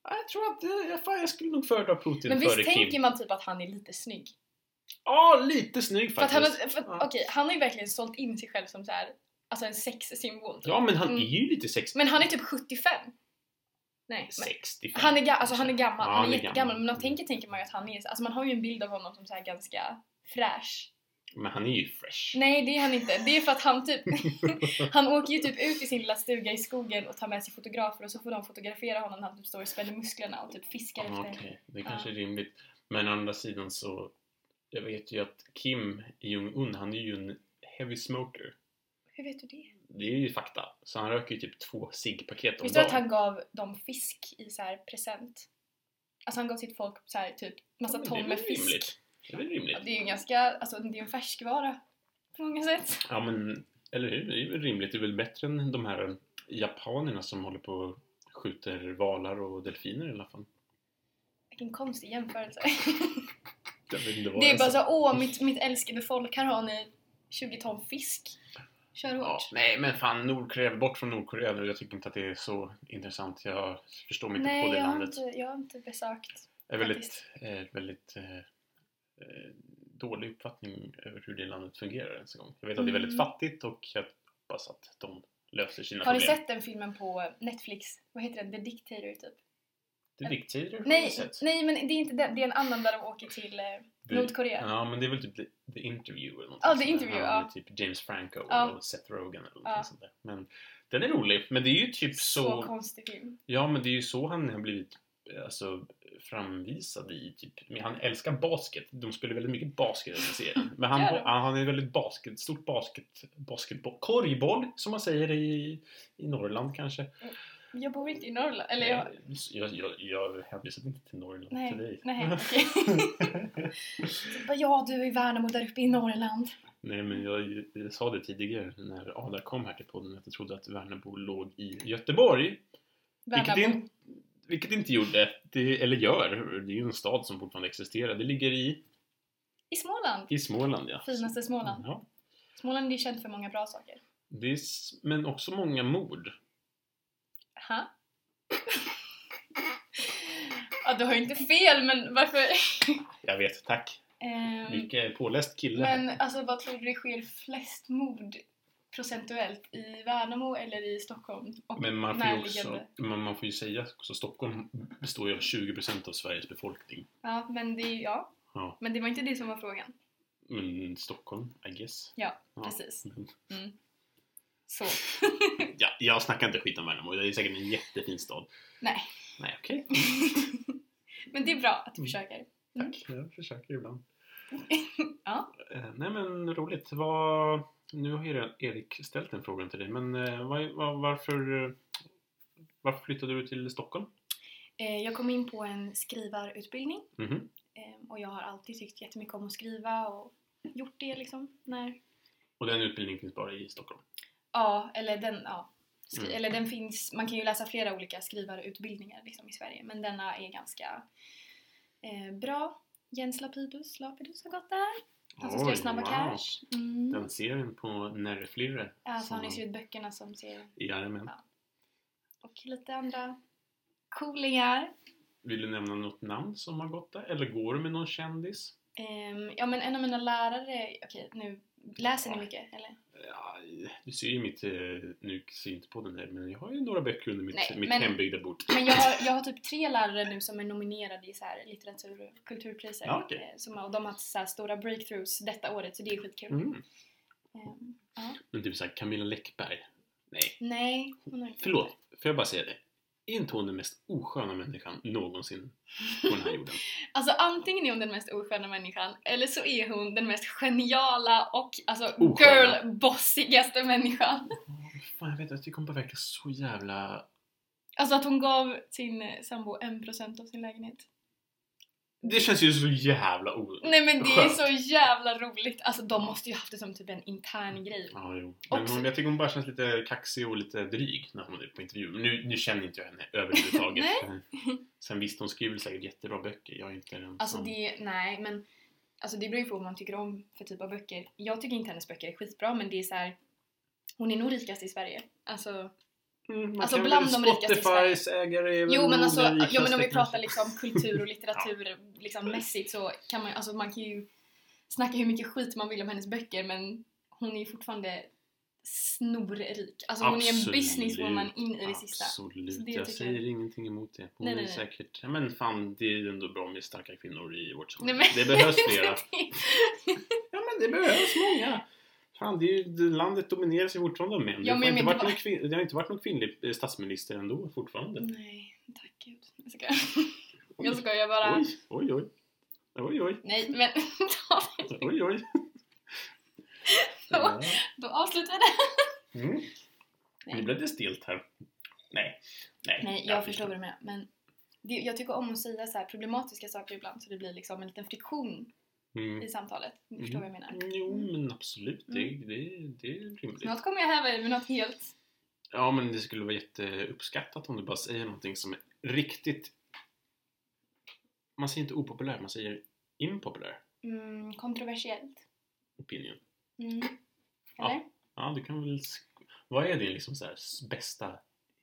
B: Ja, Jag tror att, eh, jag, fan, jag skulle nog föredra Putin
C: Men
B: före
C: visst
B: Kim.
C: tänker man typ att han är lite snygg?
B: Ja, lite snygg
C: För att
B: faktiskt.
C: han, har, för, att-
B: Ja.
C: okej, han har ju verkligen sålt in sig själv som så här, alltså en sexsymbol. typ.
B: Ja, men han
C: Mm.
B: är ju lite sexig.
C: Men han är typ 75. Nej, men
B: 65.
C: han är, ga- alltså, han är gammal.
B: Ja, han
C: han är
B: är
C: jättegammal.
B: gammal.
C: Men man tänker, tänker man ju att han är, alltså man har ju en bild av honom som så här ganska fräsch.
B: Men han är ju fresh.
C: Nej, det är han inte. Det är för att han typ, han åker ju typ ut i sin lilla stuga i skogen och tar med sig fotografer och så får de fotografera honom när han typ står och spänner musklerna och typ fiskar
B: Ja,
C: efter.
B: Ah, okej. Det kanske är rimligt. Men å andra sidan så, jag vet ju att Kim Jong-Un, han är ju en heavy smoker.
C: Hur vet du det?
B: Det är ju fakta. Så han röker ju typ två ciggpaket om
C: Visste du
B: dagen.
C: att han gav dem fisk i så här present? Alltså han gav sitt folk så här typ massa
B: Ja, men
C: ton
B: det är
C: med
B: väl
C: fisk.
B: rimligt. Det är väl rimligt.
C: Ja, Det är ju ganska, alltså det är en färskvara på många sätt.
B: Ja men, eller hur? Det är väl rimligt. Det är väl bättre än de här japanerna som håller på och skjuter valar och delfiner i alla fall.
C: Vilken konstig jämförelse.
B: Jag vet inte vad
C: Det är
B: jag
C: bara
B: sa.
C: så åh mitt, mitt älskade folk, här har ni 20 ton fisk. Kör
B: Ja,
C: hårt.
B: nej men fan, Nordkorea, bort från Nordkorea. Jag tycker inte att det är så intressant. Jag förstår mig inte
C: Nej,
B: på det
C: jag har,
B: landet.
C: inte, jag har inte besökt.
B: är väldigt, eh, väldigt eh, eh, dålig uppfattning över hur det landet fungerar ens en gång. Jag vet att det är väldigt
C: Mm.
B: fattigt och jag hoppas att de löser sina
C: Har ni
B: problem.
C: sett den filmen på Netflix? Vad heter den? The Dictator typ?
B: Det är diktider har jag
C: Nej,
B: sett.
C: nej men det är inte den. Det är en annan där de åker till eh,
B: Det-
C: Nordkorea.
B: Ja, men det är väl typ The, the Interview eller någonting
C: Ja, The
B: sånt där.
C: Interview, ja.
B: med Typ James Franco
C: Ja.
B: och Seth Rogen eller någonting
C: Ja.
B: sånt där. Men den är rolig. Men det är ju typ
C: Så,
B: så...
C: konstig film.
B: ja, men det är ju så han har blivit eh, alltså, framvisad i typ... Men han älskar basket. De spelar väldigt mycket basket i den serien. Men han,
C: Gör de?
B: ja, han är väldigt basket... Stort basket... Basketboll. Korgboll, som man säger i, i Norrland kanske.
C: Jag bor inte i Norrland. Mm. Eller jag...
B: Nej, jag, jag, jag hänvisar inte till Norrland
C: Nej,
B: till dig.
C: nej, okej. Så bara, typ, ja du är i Värnamo där uppe i Norrland.
B: Nej men jag, jag sa det tidigare när Ada kom här till podden att jag trodde att Värnamo låg i Göteborg. Vilket,
C: Värnamo.
B: in, vilket det inte gjorde, det, eller gör. Det är ju en stad som fortfarande existerar. Det ligger i,
C: I Småland.
B: i Småland ja.
C: Finaste Småland.
B: Ja.
C: Småland är ju känt för många bra saker.
B: Det är, s- men också många mord.
C: Ha? ja, du har ju inte fel, men varför?
B: Jag vet, tack.
C: Ehm,
B: Vilken påläst kille.
C: men alltså, vad tror du det sker flest mord procentuellt i Värnamo eller i Stockholm? Och
B: Men man får, ju också,
C: närliggande?
B: man, man får ju säga också Stockholm består ju av 20% av Sveriges befolkning.
C: Ja, men det, är- ja.
B: Ja,
C: men det var inte det som var frågan.
B: men Stockholm, I guess.
C: Ja,
B: Ja.
C: precis.
B: Mm.
C: Mm. Så.
B: Ja, jag snackar inte skit om Värnamo, det är säkert en jättefin stad.
C: Nej.
B: Nej, okej.
C: men det är bra
B: Mm.
C: att du försöker.
B: Tack, jag försöker ibland.
C: Mm. Ja.
B: Eh, nej men roligt. Vad... Nu har ju Erik ställt den frågan till dig, men eh, vad- vad- varför, eh, varför flyttade du till Stockholm?
C: Eh, Jag kom in på en skrivarutbildning.
B: Mhm.
C: Ehm, Och jag har alltid tyckt jättemycket om att skriva och gjort det liksom. När...
B: Och den utbildningen finns bara i Stockholm?
C: Ja, eller den, ja. Skri-
B: Mm.
C: Eller den finns, man kan ju läsa flera olika skrivarutbildningar liksom i Sverige. Men denna är ganska eh, bra. Jens Lapidus, Lapidus har gått där. Han som skrev
B: Oj,
C: Snabba
B: wow.
C: Cash. Mm.
B: Den serien på Närreflirre.
C: Alltså, han har ju skrivit böckerna som ser
B: Jajamän.
C: Ja. och lite andra coolingar.
B: Vill du nämna något namn som har gått där? Eller går du med någon kändis?
C: Ehm, ja men en av mina lärare, okej nu, läser ni mycket eller?
B: Ja, du ser ju mitt, eh, nu ser jag inte på den där, men jag har ju några böcker under mitt,
C: Nej,
B: mitt
C: men-
B: hembygda bord.
C: Men jag har, jag har typ tre lärare nu som är nominerade i så här litteratur och kulturpriser.
B: Ja, okej.
C: Eh, som, och de har haft så här stora breakthroughs detta året så det är skitkul.
B: Mm.
C: Ehm,
B: Men typ såhär Camilla Läckberg. Nej,
C: nej, hon har inte-
B: förlåt. Får jag bara säga det? Är inte hon den mest osköna människan någonsin på den här jorden?
C: Alltså antingen är hon den mest osköna människan eller så är hon den mest geniala och alltså
B: Osköna.
C: girl-bossigaste människan.
B: Fan, jag vet att det kommer att verka så jävla...
C: Alltså att hon gav sin eh, sambo 1% av sin lägenhet.
B: Det känns ju så jävla o...
C: Nej men det är
B: Skönt.
C: så jävla roligt. Alltså de måste ju haft det som typ en intern grej.
B: Ja, jo. Men
C: Också-
B: hon, jag tycker hon bara känns lite kaxig och lite dryg när hon är på intervju. Men nu, nu känner inte jag henne överhuvudtaget. Sen visst, hon skriver säkert jättebra böcker. Jag är inte den
C: Alltså
B: som...
C: det, nej men Alltså det beror ju på vad man tycker om för typ av böcker. Jag tycker inte hennes böcker är skitbra men det är så här. Hon är nog rikast i Sverige. Alltså
B: Mm, man
C: Alltså,
B: kan
C: bland
B: väl-
C: de rikaste i Sverige.
B: Spotifys ägare är väl
C: Jo men
B: nog
C: alltså,
B: den
C: jo, men om
B: rikaste
C: vi
B: kanske.
C: pratar liksom kultur och litteratur liksom mässigt så kan man, alltså, man kan ju snacka hur mycket skit man vill om hennes böcker men hon är ju fortfarande snorrik. Alltså hon är en
B: Absolut.
C: businesswoman in i det sista.
B: Absolut,
C: Så det
B: jag
C: tycker
B: säger
C: jag-
B: ingenting emot det. Hon
C: Nej,
B: är
C: nej, nej.
B: säkert... Ja, men fan, det är ju ändå bra med starka kvinnor i vårt
C: Nej,
B: samhälle.
C: men-
B: Det behövs flera. Ja men det behövs många! Fan, det är ju, det- landet domineras ju fortfarande av män.
C: Ja,
B: det,
C: men
B: har
C: jag
B: inte
C: menar
B: varit någon kvin- det har inte varit någon kvinnlig eh, statsminister ändå fortfarande.
C: Nej, tack gud. Jag skojar. Mm, Jag skojar bara.
B: Oj, oj, oj. Oj, oj.
C: Nej men David,
B: Oj, oj.
C: Ja. då avslutar vi det.
B: Mm.
C: Nej.
B: Nu blev det stelt här. Nej. Nej,
C: Nej, jag förstår vad du menar. Men det, jag tycker om att säga så här problematiska saker ibland så det blir liksom en liten friktion
B: Mm.
C: i samtalet. Om Du förstår vad jag menar. Mm.
B: Jo, men absolut. Det, det, det är rimligt.
C: Snart kommer jag häva i med något helt...
B: Ja, men det skulle vara jätteuppskattat om du bara säger någonting som är riktigt... Man säger inte opopulär, man säger impopulär
C: Mm, kontroversiellt.
B: opinion.
C: Mm.
B: Ja.
C: Eller?
B: Ja, du kan väl... sk- Vad är din liksom så här, s- bästa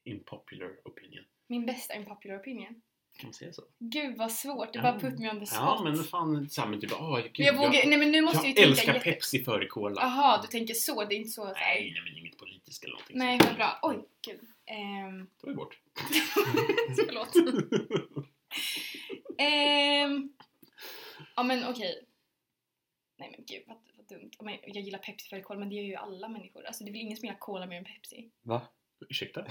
B: impopular opinion?
C: Min bästa unpopular opinion.
B: Kan man säga så?
C: Gud vad svårt, du
B: Ja.
C: bara put me on the spot.
B: Ja, men fan, samma typ... Oh, gud,
C: Men jag vågar, nej men nu måste
B: jag
C: jag ju
B: älskar
C: tänka jätte...
B: Pepsi före Cola.
C: Jaha, du tänker så, det är inte så att
B: Nej, nej, men inget politiskt eller någonting.
C: Nej, vad bra. Oj, gud. Ehm,
B: Det var ju bort.
C: förlåt. Ehm, ja men okej. Nej men gud vad, vad dumt. Ja, Men, jag gillar Pepsi före Cola men det gör ju alla människor. Alltså det är väl ingen som gillar Cola mer än Pepsi.
A: Va?
B: Ursäkta?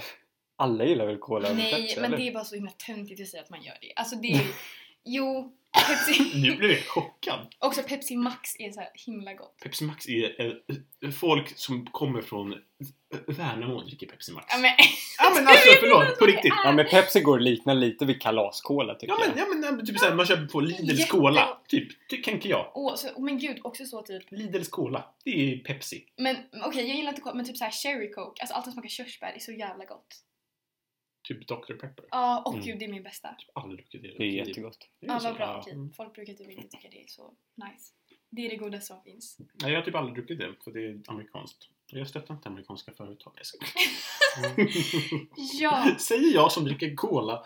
A: Alla gillar väl Cola över
C: Nej
A: Pepsi,
C: men
A: eller?
C: det är bara så himla töntigt att säga att man gör det. Alltså det är Jo, Pepsi.
B: Nu blev jag chockad.
C: Också Pepsi Max är så här himla gott.
B: Pepsi Max är eh, folk som kommer från eh, Värnamo dricker Pepsi Max.
C: Ja men,
B: Ja men alltså förlåt, på riktigt.
A: Ja men Pepsi går och liknar lite vid Kalaskola tycker
B: Ja men, ja, men nej, typ såhär, man köper på Lidls
C: Jätte-
B: Cola. Typ, ty- tänker jag.
C: åh, så, åh, men gud också så typ.
B: Lidls Cola, det är Pepsi.
C: Men okej jag gillar inte Cola men typ så här Cherry Coke. Alltså allt som smakar körsbär är så jävla gott.
B: Typ Dr Pepper.
C: Ja, och
A: Mm.
C: gud det är min bästa.
B: Aldrig druckit det.
A: jag. Det är jättegott.
B: ju
C: Ja
B: så.
C: vad bra, okej.
B: Mm.
C: Folk brukar typ inte tycka det är så nice. Det är det goda som finns.
B: Nej, jag har typ aldrig druckit det, för det är amerikanskt. Jag stöttar inte amerikanska företag. Jag skojar.
C: Ja!
B: Säger jag som dricker Cola.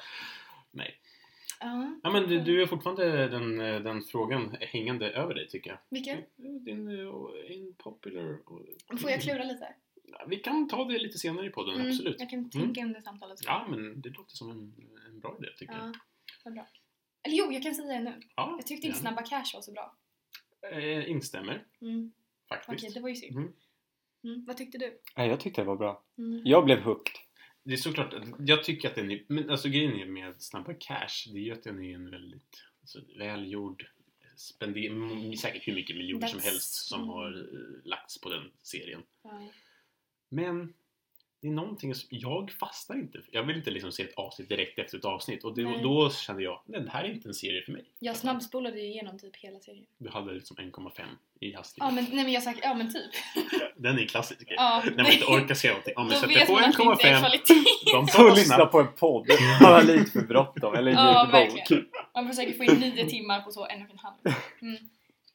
C: Ja,
B: Ja men du, du är fortfarande den, eh, den frågan hängande över dig tycker jag.
C: vilken?
B: Din eh, impopular... och-
C: Får jag klura lite?
B: Ja, Vi kan ta det lite senare i podden,
C: Mm,
B: absolut.
C: Jag kan tänka under samtalet.
B: Ja, men det låter som en, en bra idé tycker
C: Ja,
B: jag.
C: vad bra. Eller jo, jag kan säga det nu.
B: Ja,
C: Jag tyckte inte
B: gärna.
C: Snabba Cash var så bra.
B: Eh, instämmer,
C: Mm. Okej,
B: faktiskt.
C: det var ju synd.
B: Mm.
C: Mm. Vad tyckte du?
A: Nej, jag tyckte det var bra.
C: Mm.
A: Jag blev hooked.
B: Det är såklart, att- jag tycker att den är... Men alltså grejen är med Snabba Cash, det är ju att den är en väldigt alltså, välgjord spender, m- säkert hur mycket miljoner som
C: That's-
B: helst som
C: mm.
B: har eh, lagts på den serien.
C: Ja.
B: Men det är någonting som jag fastnar inte för. Jag vill inte liksom se ett avsnitt direkt efter ett avsnitt och då,
C: Nej.
B: då kände jag, nej det här är inte en serie för mig.
C: Jag snabbspolade ju igenom typ hela serien.
B: Du hade liksom 1,5 i hastighet.
C: Ja men, nej, men jag sa, ja men typ.
B: Den är klassiker.
C: Ja.
B: När man inte orkar se någonting. Ja, men
C: Då
B: sätter jag
C: vet
B: på
C: man att det inte är
B: 1,5.
C: kvalitet.
B: De
A: Så
B: tar
A: lyssna
B: snabbt.
A: på en podd. Han har lite för bråttom. Eller
C: Ja,
A: ljudbok.
C: verkligen. Man försöker få in nio timmar på så en och en halv. Mm.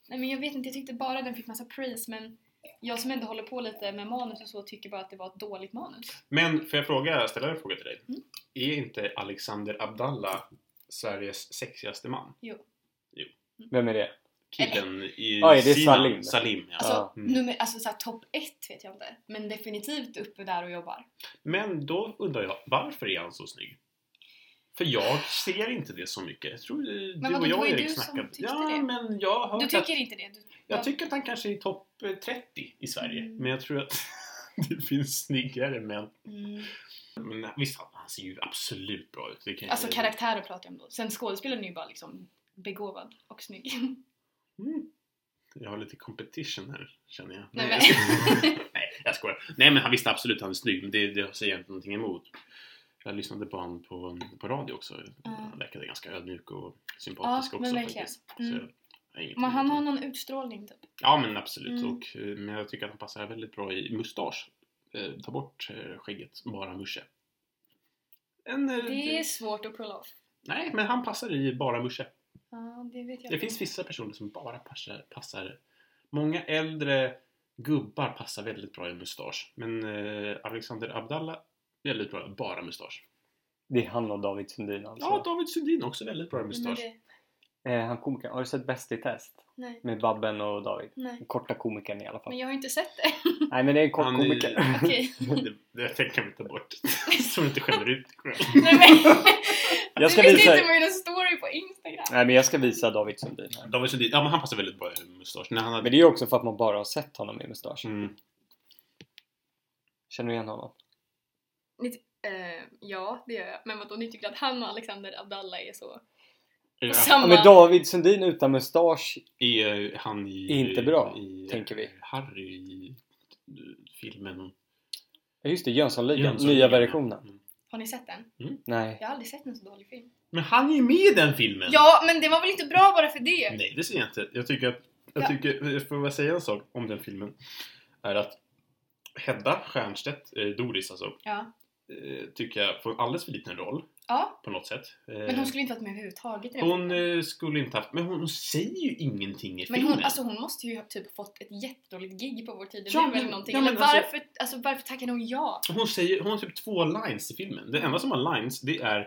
C: Nej men jag vet inte, jag tyckte bara den fick massa praise men jag som ändå håller på lite med manus och så tycker bara att det var ett dåligt manus.
B: Men får jag fråga, ställa en fråga till dig?
C: Mm.
B: Är inte Alexander Abdallah Sveriges sexigaste man?
A: Vem är det?
B: Killen i
A: Ja, är det
B: Sinan.
A: Salim?
B: Salim ja.
C: Alltså,
A: Ja.
B: Mm.
C: nummer, alltså såhär topp ett vet jag inte. Men definitivt uppe där och jobbar.
B: Men då undrar jag, varför är han så snygg? För jag ser inte det så mycket. Jag tror eh, du
C: vadå,
B: och
C: det
B: jag
C: var
B: och
C: ju
B: Erik
C: du som
B: snackade.
C: tyckte
B: Ja,
C: det.
B: men jag har
C: Du
B: hört
C: tycker inte det? Du,
B: Jag tycker att han kanske är i topp eh, 30 i Sverige.
C: Mm.
B: Men jag tror att det finns snyggare män.
C: mm.
B: Men visst, han- han ser ju absolut bra ut. Det kan jag
C: Alltså
B: säga.
C: karaktärer pratar jag om då. Sen skådespelaren är ju bara liksom begåvad och snygg.
B: Mm. Jag har lite competition här, känner jag.
C: Nej,
B: jag skojar. Nej, jag skojar. Nej, men han visste absolut att han är snygg. Men det, det säger jag inte någonting emot. Jag lyssnade på honom på, på radio också. Han verkade ganska ödmjuk och sympatisk
C: Ja, men
B: också
C: verkligen.
B: faktiskt. Så
C: Mm.
B: jag- jag har ingenting
C: Men han
B: emot
C: har
B: honom.
C: någon utstrålning typ.
B: Ja, men absolut.
C: Mm.
B: Och, eh, men jag tycker att han passar väldigt bra i mustasch. Eh, ta bort eh, skägget, bara musche. En, eh,
C: Det är svårt att pull off.
B: Nej, men han passar i bara musche.
C: Ja, det vet jag
B: Det
C: inte.
B: finns vissa personer som bara passar, passar. Många äldre gubbar passar väldigt bra i mustasch. Men eh, Alexander Abdallah Väldigt bra, bara mustasch.
A: Det är han och David Sundin alltså.
B: Ja, David Sundin också väldigt bra
C: Nej, men
B: mustasch.
C: det,
A: eh, han komikern, har du sett Bäst i test?
C: nej,
A: Med Babben och David.
C: nej.
A: Korta komikern i alla fall.
C: Men jag har inte sett det.
A: Nej men det är en kort
B: Han är-
A: komiker.
C: Okej.
B: Det, det, det kan vi ta bort. Så du inte skäller ut dig själv.
C: Nej, men,
A: Jag ska
C: du
A: visa...
C: inte med en story på Instagram.
A: Nej men jag ska visa David Sundin här.
B: David Sundin, ja men han passar väldigt bra i mustasch. När han
A: Men
B: hade...
A: det är ju också för att man bara har sett honom i mustasch.
B: Mm.
A: Känner du igen honom?
C: Eh, ja, det gör jag. Men vadå, ni tycker att han och Alexander Abdallah är så...
B: Är-
A: Ja,
C: Samma.
A: men David Sundin utan mustasch.
B: Är han i...
A: Inte bra,
B: i, eh,
A: tänker vi.
B: Harry i eh, filmen.
A: Ja, Just det, Jönssonligan. Nya
B: Jönssonligan.
A: versionen.
B: Mm.
C: Har ni sett den?
A: Nej.
C: Jag har aldrig sett en så dålig film.
B: Men han är ju med i den filmen!
C: Ja, men det var väl inte bra bara för det?
B: Nej, det ser jag inte. Jag tycker att... Jag
C: Ja.
B: tycker... Jag får bara säga en sak om den filmen. Är att Hedda Stiernstedt, eh, Doris alltså,
C: Ja.
B: eh, tycker jag får en alldeles för liten roll
C: Ja,
B: på något sätt. Eh,
C: men hon skulle inte varit med överhuvudtaget i den
B: hon
C: filmen.
B: eh, skulle inte haft... Men hon, hon säger ju ingenting i
C: Men
B: filmen.
C: hon, alltså hon måste ju ha typ fått ett jättedåligt gig på Vår tid
B: Ja,
C: nu eller
B: men-
C: någonting.
B: ja, men
C: eller
B: alltså-
C: varför, alltså, varför tackade hon ja?
B: Hon, säger, hon har typ två lines i filmen. Den enda som har lines, det är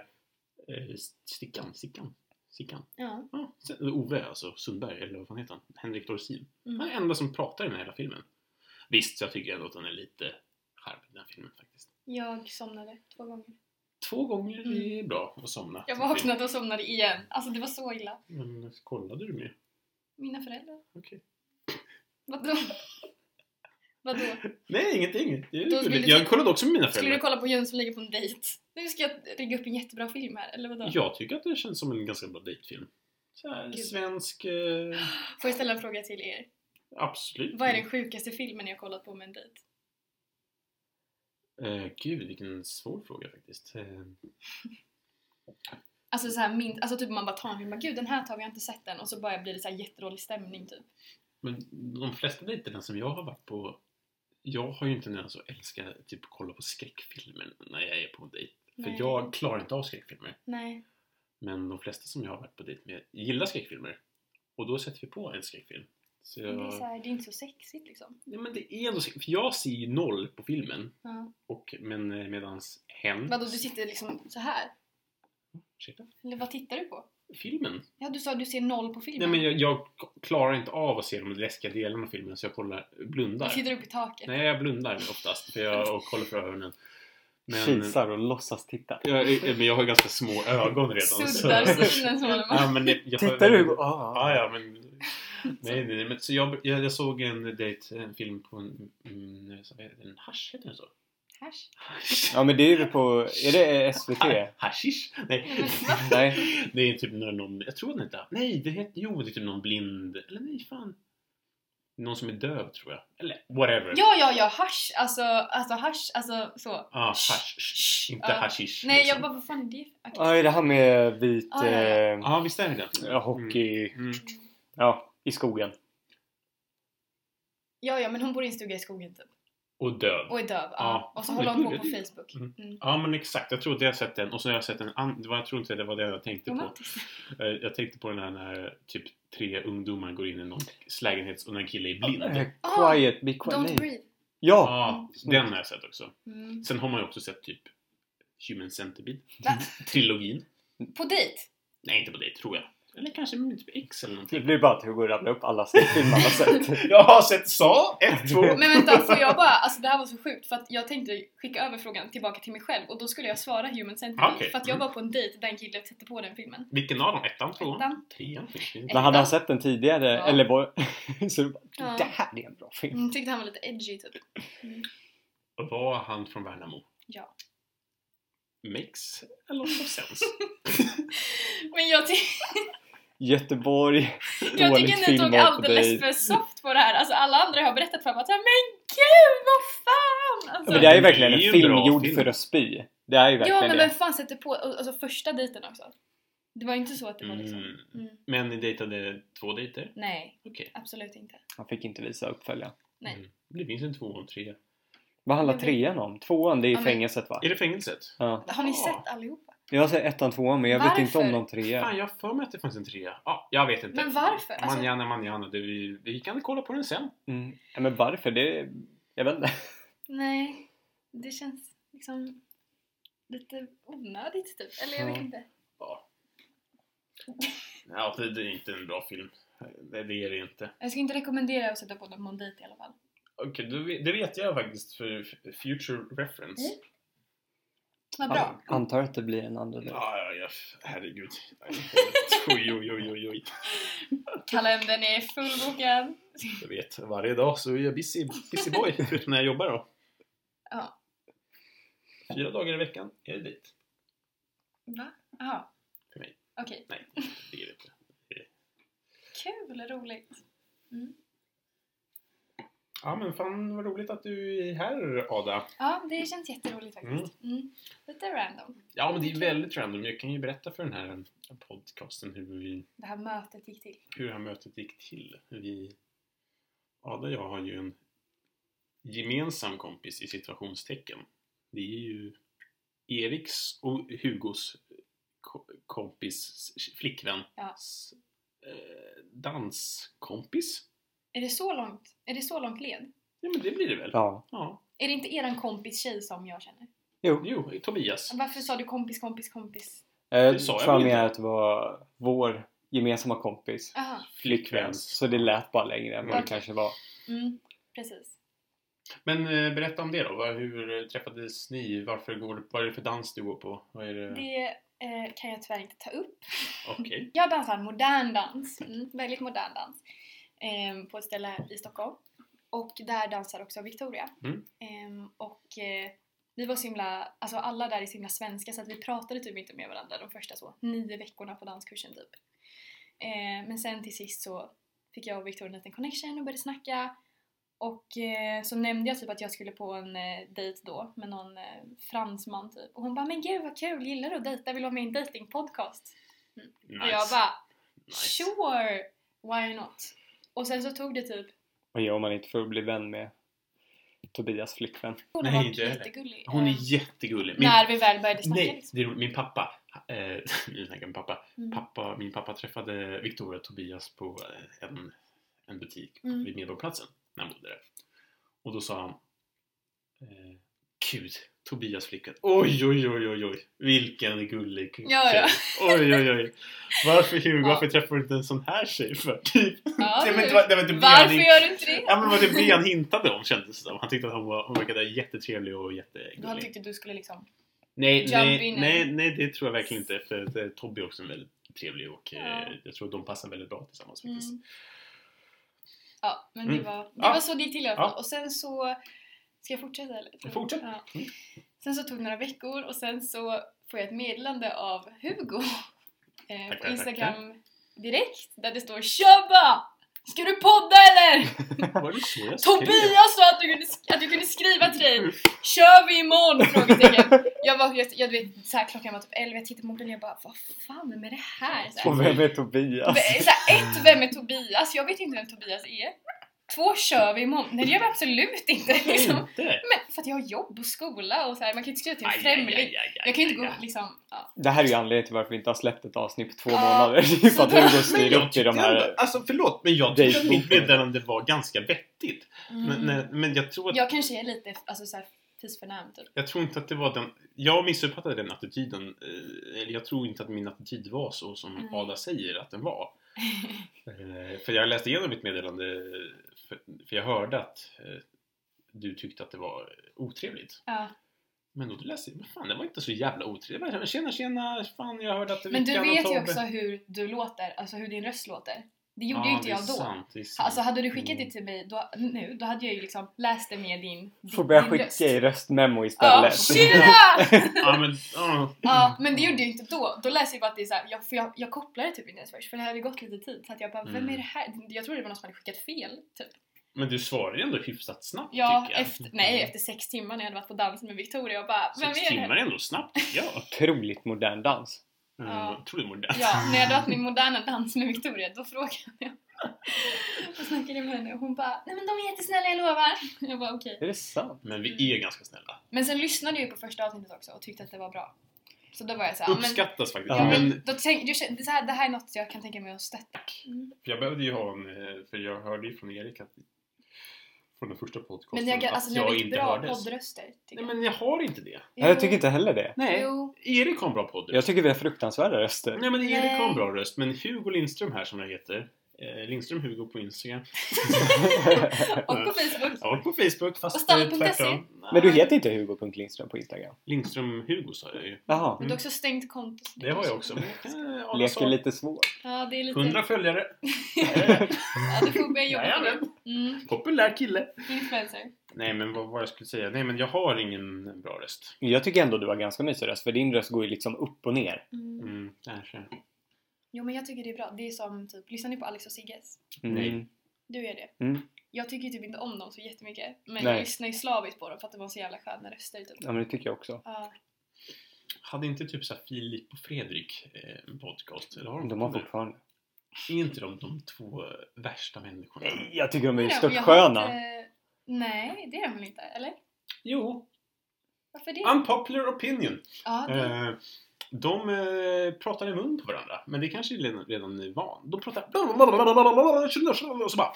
B: eh, Stickan, Stickan, Stickan.
C: Ja.
B: Ja, sen- Ove, alltså Sundberg, eller vad fan heter han? Henrik Dorsin. Han är
C: Mm.
B: den enda som pratar i den här hela filmen. Visst, jag tycker ändå att den är lite charmig, den här filmen faktiskt.
C: Jag somnade två gånger.
B: Två gånger är bra att somna.
C: Mm. Jag vaknade och somnade igen. Alltså det var så illa.
B: Men kollade du med?
C: Mina föräldrar.
B: Okej.
C: Vadå? Vadå?
B: Nej, ingenting. Det är
C: Då vill
B: roligt.
C: du-
B: jag kollade också med mina
C: Skulle du
B: föräldrar.
C: kolla på Jönssonligan på en dejt? Nu ska jag rigga upp en jättebra film här, eller vadå?
B: Jag tycker att det känns som en ganska bra dejtfilm. Så här,
C: Gud.
B: svensk... Eh,
C: Får jag ställa en fråga till er?
B: absolut.
C: Vad är den sjukaste filmen ni har kollat på med en dejt?
B: Eh, gud, vilken svår fråga faktiskt. Eh,
C: Alltså så här, min, alltså typ man bara tar en film och bara, gud den här tar vi, jag har inte sett den och så bara blir det så här jättedålig stämning typ.
B: men de flesta dejterna som jag har varit på jag har ju inte ens att älska typ kolla på skräckfilmer när jag är på en dejt.
C: Nej.
B: För jag klarar inte av skräckfilmer.
C: Nej.
B: Men de flesta som jag har varit på dejt med gillar skräckfilmer. Och då sätter vi på en skräckfilm. Så
C: Men Det, är
B: jag...
C: så här, det är inte så sexigt liksom.
B: Nej, men det är ändå skräck- För jag ser ju noll på filmen.
C: Ja.
B: Och, men eh, medans hen...
C: Vadå du sitter liksom så här?
B: Ursäkta?
C: Eller vad tittar du på?
B: Filmen?
C: Ja du sa att du ser noll på filmen.
B: Nej men jag, jag klarar inte av att se de läskiga delarna av filmen så jag kollar, blundar.
C: Du sitter upp i taket.
B: Nej, jag blundar oftast för jag och kollar för ögonen. Men,
A: Kisar och låtsas titta.
B: jag, är- men jag har ganska små ögon redan. så-
C: Suddar synen som håller med.
B: Ja, men det- jag har-
A: Tittar du? Ah,
B: Ja, ja, men... Nej, nej, nej. Men, så jag, jag, jag såg en date, en film på en... mm, så vad heter den? Hasch, heter den så?
C: Hasch.
B: Hasch.
A: ja men det är ju på... Är det SVT?
B: Ha- Haschisch? Nej.
A: Nej.
C: Mm.
B: Det är typ när någon... Jag tror den inte... Nej, det heter... Jo, det är typ någon blind... Eller nej, fan. Någon som är döv, tror jag. Eller whatever.
C: Ja ja ja, hasch! Alltså, alltså hasch, alltså så.
B: Ja, hasch. Sh- Inte
C: Ja.
B: haschisch.
C: Nej
B: liksom.
C: jag bara, vad fan är det? Okej.
A: Ja, är det här med vit
C: Ah, ja, ja.
A: eh,
B: Ja, visst är det den?
A: ja, hockey...
B: Mm.
A: Ja, i skogen.
C: Ja ja, men hon bor i en stuga i skogen typ.
B: Och döv.
C: Och är döv.
B: Ja.
C: Ja. Och så
B: Ja,
C: håller
B: det
C: hon på
B: är
C: på
B: kul.
C: Facebook.
B: Mm.
C: Mm.
B: Ja men exakt, jag tror att jag har sett den och så har jag sett en annan, jag tror inte det var det jag tänkte på.
C: Romantiskt.
B: Eh, Jag tänkte på den här när typ tre ungdomar går in i någon lägenhet och en kille är
A: Eh,
B: blind.
C: Ah,
A: Quiet, be quiet.
C: Don't
A: Nej.
C: breathe.
A: Ja!
B: Ja, den har jag sett också.
C: Mm.
B: Sen har man ju också sett typ Human Centipede.
C: Va?
B: Trilogin.
C: På dejt?
B: Nej, inte på det tror jag. Eller kanske med typ X eller
A: Det
B: någonting.
A: blir bara att Hugo rabblar upp alla skräckfilmer han har sett.
B: Jag har sett Sa 1, 2.
C: Men vänta, får jag bara, alltså det här var så sjukt för att jag tänkte skicka över frågan tillbaka till mig själv och då skulle jag svara Human Centipede
B: Okej.
C: för att jag
A: Mm.
C: var på en dejt där en kille satte på den filmen.
B: Vilken av dem? Ettan, tvåan?
C: Ettan.
B: Trean? finns det inte.
A: Men hade han sett den tidigare?
C: Ja.
A: Eller var... så det bara,
C: Ja.
A: det här är en bra film.
C: Mm, tyckte han var lite edgy typ.
B: Var han från Värnamo?
C: Ja.
B: Makes a lot of sense.
C: Men jag, ty-
A: Göteborg,
C: jag
A: dåligt
C: tycker ni
A: film
C: tog
A: var på
C: alldeles
A: dig.
C: för soft på det här. Alltså alla andra har berättat för mig att så här, men gud vad fan! Alltså,
A: Men det är ju
B: Det är
A: verkligen en
B: ju en
A: film
B: bra
A: gjord
B: film.
A: för att spy. Det är ju
C: ja
A: verkligen
C: men vem
A: det.
C: fan sätter på, alltså första dejten också. Det var ju inte så att det var liksom,
B: Mm.
C: mm.
B: Men ni dejtade två dejter?
C: nej
B: Okej.
C: absolut inte.
A: Han fick inte visa uppföljaren.
C: Nej.
B: Mm. Det finns en två och en tre.
A: Vad handlar
C: Jag vet.
A: trean om? Tvåan, det är ju
C: Ja, men-
A: fängelset va?
B: Är det fängelset?
A: Ja.
C: Har ni
B: Ja.
C: sett allihopa?
A: Jag har sett ettan, tvåan men jag vet
C: Varför?
A: inte om någon trea.
B: Fan, jag har för mig att det fanns en trea. Ja, jag vet inte.
C: Men varför? Alltså-
B: Manjana, manjana. Det vi, vi kan kolla på den sen.
A: Mm. Ja, men varför? Det... Jag vet inte.
C: Nej, det känns liksom lite onödigt typ. Eller jag
A: Ja.
C: vet inte.
B: Ja. ja, det det är inte en bra film. Det det är det inte.
C: Jag skulle inte rekommendera att sätta på den på en dejt i alla fall.
B: Okej, då vet- det vet jag faktiskt för f- future reference.
C: Mm. Vad bra.
A: An- Antar att det blir en andra dejt.
B: Ja, ja, ja, herregud. Oj, oj, oj, oj, oj.
C: Kalendern är fullbokad.
B: Jag vet, varje dag så är jag busy, busy boy, förutom när jag jobbar då.
C: Ja.
B: Fyra dagar i veckan är det dit.
C: Va? Jaha.
B: För mig.
C: Okej.
B: Nej, det är det inte.
C: Kul, roligt.
B: Ja, men fan vad roligt att du är här, Ada.
C: Ja, det känns jätteroligt faktiskt. Mm. Lite random.
B: Ja, men det är väldigt random. Jag kan ju berätta för den här podcasten hur, vi,
C: Det här mötet gick till.
B: hur det här mötet gick till. Hur Vi, Ada och jag har ju en gemensam kompis i situationstecken. Det är ju Eriks och Hugos ko- kompis, flickvän,
C: Ja.
B: s- eh, danskompis.
C: Är det så långt, är det så långt led?
B: Ja, men det blir det väl?
A: Ja.
B: ja.
C: Är det inte eran kompis tjej som jag känner?
A: Jo.
B: Jo, Tobias.
C: Varför sa du kompis, kompis, kompis?
A: Eh,
B: Det sa jag
A: för
B: väl
A: mig
B: inte.
A: att det var vår gemensamma kompis
C: Aha.
A: flickvän. Så det lät bara längre än vad det
C: Okej.
A: kanske var.
C: Mm, precis.
B: Men eh, berätta om det då. Vad- Hur träffades ni? Varför går, vad är det för dans du går på? Vad är det?
C: Det eh, kan jag tyvärr inte ta upp.
B: Okej.
C: Jag dansar modern dans, mm, väldigt modern dans, ehm, på ett ställe här i Stockholm. Och där dansar också Victoria.
B: Mm.
C: Ehm, och eh, vi var så himla, alltså alla där är så himla svenska så att vi pratade typ inte med varandra de första så nio veckorna på danskursen typ. Ehm, men sen till sist så fick jag och Victoria en liten connection och började snacka. Och eh, så nämnde jag typ att jag skulle på en eh, dejt då med någon eh, fransman typ. Och hon bara “men gud vad kul, gillar du att dejta? Vill du vara med i en datingpodcast?”
B: Nice.
C: Och jag bara
B: nice.
C: Sure! Why not? Och sen så tog det typ...
A: Vad gör man inte för att bli vän med Tobias flickvän?
C: Hon
B: Nej,
C: var
B: inte heller.
C: jättegullig.
B: Hon
C: Eh,
B: är jättegullig.
C: När vi väl började snacka
B: nej,
C: liksom.
B: det är roligt. min pappa. Eh, nu snackar jag med pappa.
C: Mm.
B: pappa. Min pappa träffade Victoria och Tobias på eh, en, en butik
C: Mm.
B: vid Medborgarplatsen när han bodde där. Och då sa han eh, Gud, Tobias flickvän. Oj, oj, oj, oj, oj. Vilken gullig tjej.
C: Ja, ja.
B: Oj, oj, oj. Varför Hugo,
C: Ja.
B: varför träffar du inte en sån här tjej för?
C: Ja,
B: det, var inte,
C: du.
B: det var inte det han
C: Varför
B: hint-
C: gör du inte det?
B: Ja, men det var det han hintade om kändes det som. Han tyckte att hon, var, hon verkade jättetrevlig och jättegullig.
C: Han tyckte du skulle liksom...
B: Nej,
C: Jump
B: nej,
C: in
B: nej, nej, det tror jag verkligen inte. För att, eh, Tobbe är också en väldigt trevlig och
C: Ja.
B: eh, jag tror att de passar väldigt bra tillsammans
C: Mm.
B: faktiskt.
C: Ja, men det
B: Mm.
C: var, det
B: Ja.
C: var så det gick till i alla fall.
B: Ja.
C: Och sen så... Ska jag fortsätta eller?
B: Fortsätt.
C: Ja.
B: Mm.
C: Sen så tog det några veckor och sen så får jag ett meddelande av Hugo eh, på
B: Tackar,
C: Instagram direkt där det står Tjabba! Ska du podda eller?
B: Var det så jag skrev?
C: Tobias sa att du kunde, sk- att du kunde skriva till dig! Kör vi imorgon? Frågetecken. Jag var, jag, jag, du vet, så här, klockan var typ 11, jag tittade på mobilen och jag bara vad fan med det här? Så här,
A: Och vem är Tobias?
C: V- så här ett, vem är Tobias? Jag vet inte vem Tobias är. Två, kör vi imorgon? Nej det gör vi absolut inte! Liksom.
B: Inte?
C: Men för att jag har jobb och skola och så här, man kan ju inte skriva till en
B: Aj, aj, aj,
C: främling.
B: aj, aj,
C: Jag kan ju inte
B: aj,
C: gå
B: aj.
C: liksom, ja.
A: Det här är ju anledningen till varför vi inte har släppt ett avsnitt på två
C: Ja.
A: månader. Det är för att Hugo
B: Men jag
A: styr upp i de
B: tyckte
A: här...
B: ändå- Alltså förlåt, men jag tyckte att mitt
A: Dejtboken.
B: meddelande var ganska vettigt. Men,
C: Mm.
B: nej, men jag tror att
C: Jag kanske är lite alltså, så här, fisförnäm typ.
B: Jag tror inte att det var den... Jag missuppfattade den attityden. eh, Eller jag tror inte att min attityd var så som
C: Mm.
B: Ada säger att den var. Eh, för jag läste igenom mitt meddelande eh, för, för jag hörde att eh, du tyckte att det var otrevligt.
C: Ja.
B: Men då läste jag, men fan det var inte så jävla otrevligt. Jag bara, Tjena tjena, fan jag hörde att
C: Men du
B: Vickan och
C: vet ju
B: Tobbe-"
C: också hur du låter, alltså hur din röst låter. Det gjorde
B: Ja,
C: ju inte
B: det är
C: jag då.
B: Sant, det är sant.
C: Alltså hade du
B: Mm.
C: skickat det till mig då, nu, då hade jag ju liksom läst det med din, din,
A: Får börja
C: din
A: skicka i röstmemo
C: Ja,
A: istället.
C: tjena!
B: Ja men, ja.
C: ja, men det gjorde jag ju inte då. Då läste jag bara att det är såhär, jag, för jag, jag kopplade typ inte ens först för det hade gått lite tid. Så att jag bara, vem
B: Mm.
C: är det här? Jag trodde det var någon som hade skickat fel. Typ.
B: men du svarade ju ändå hyfsat snabbt
C: Ja,
B: tycker jag.
C: efter, nej, efter sex timmar när jag hade varit på dans med Victoria och bara, vem
B: Sex
C: är det?
B: timmar är ändå snabbt tycker jag. Eh,
A: Otroligt modern dans.
B: Ja.
C: Ja.
B: Otroligt modernt.
C: Ja, när jag hade haft min moderna dans med Victoria, då frågade jag. Jag snackade med henne och hon bara Nej men de är jättesnälla, jag lovar! Jag bara okej.
A: Är det sant?
B: Men
C: Mm.
B: vi är ganska snälla.
C: Men sen lyssnade jag ju på första avsnittet också och tyckte att det var bra. Så då var jag såhär, men,
B: Uppskattas faktiskt.
A: Ja.
B: Men
C: då tänk, du, kände- det, här, det här är något jag kan tänka mig att stötta.
B: jag behövde ju ha en, eh, för jag hörde ju från Erik att från den första podcasten
C: Men jag,
B: att
C: alltså, ni
B: jag
C: har inte
B: inte
C: bra
B: hördes.
C: poddröster. tycker
B: Nej men jag har inte det.
A: Nej, jag tycker inte heller det.
B: Nej.
C: Jo.
B: Erik har en bra podd.
A: typ. Jag tycker vi har fruktansvärda röster.
B: Nej men Erik
C: Nej.
B: har en bra röst. Men Hugo Lindström här som jag heter. Eh, Lindström Hugo på Instagram.
C: Och på Facebook.
B: Och på Facebook fast
C: Och Stalle
B: eh,
C: punkt se.
B: tvärtom.
A: Men du heter inte Hugo.Lindström på Instagram?
B: Lindström Hugo sa jag ju.
A: Jaha.
C: Men du har också stängt kontot.
B: Det har jag också. Men jag kan, eh, ana
A: Leker
B: så.
A: lite svår.
C: Ja, det är lite...
B: 100 följare.
C: ja, du får börja jobba med
B: Jajamän.
C: det. Mm,
B: Populär kille.
C: influencer.
B: Nej men vad, vad jag skulle säga. Nej men jag har ingen bra röst.
A: Jag tycker ändå du har ganska mysig röst för din röst går ju liksom upp och ner.
C: Mm.
B: Mm, kanske.
C: Jo, men jag tycker det är bra. Det är som typ, lyssnar ni på Alex och Sigges?
A: Mm.
B: Nej.
C: Du gör det.
A: Mm.
C: Jag tycker typ inte om dem så jättemycket. Men
A: Nej.
C: jag lyssnar ju slaviskt på dem för att de har så jävla sköna röster typ.
A: Ja men det tycker jag också.
C: Ja.
B: Hade inte typ så här Filip och Fredrik eh, en podcast? Eller har de,
A: De har
B: det?
A: fortfarande...
B: Är inte de de två eh, värsta människorna?
A: Nej, jag tycker de är
C: Men
A: ju
C: jag- jag har
A: störtsköna.
C: inte- Nej, det är de väl inte? Eller?
B: Jo,
C: Varför det?
B: unpopular opinion.
C: ja, det...
B: Eh, de eh, pratar i mun på varandra, men det kanske är redan, redan är van. De pratar... Och så bara,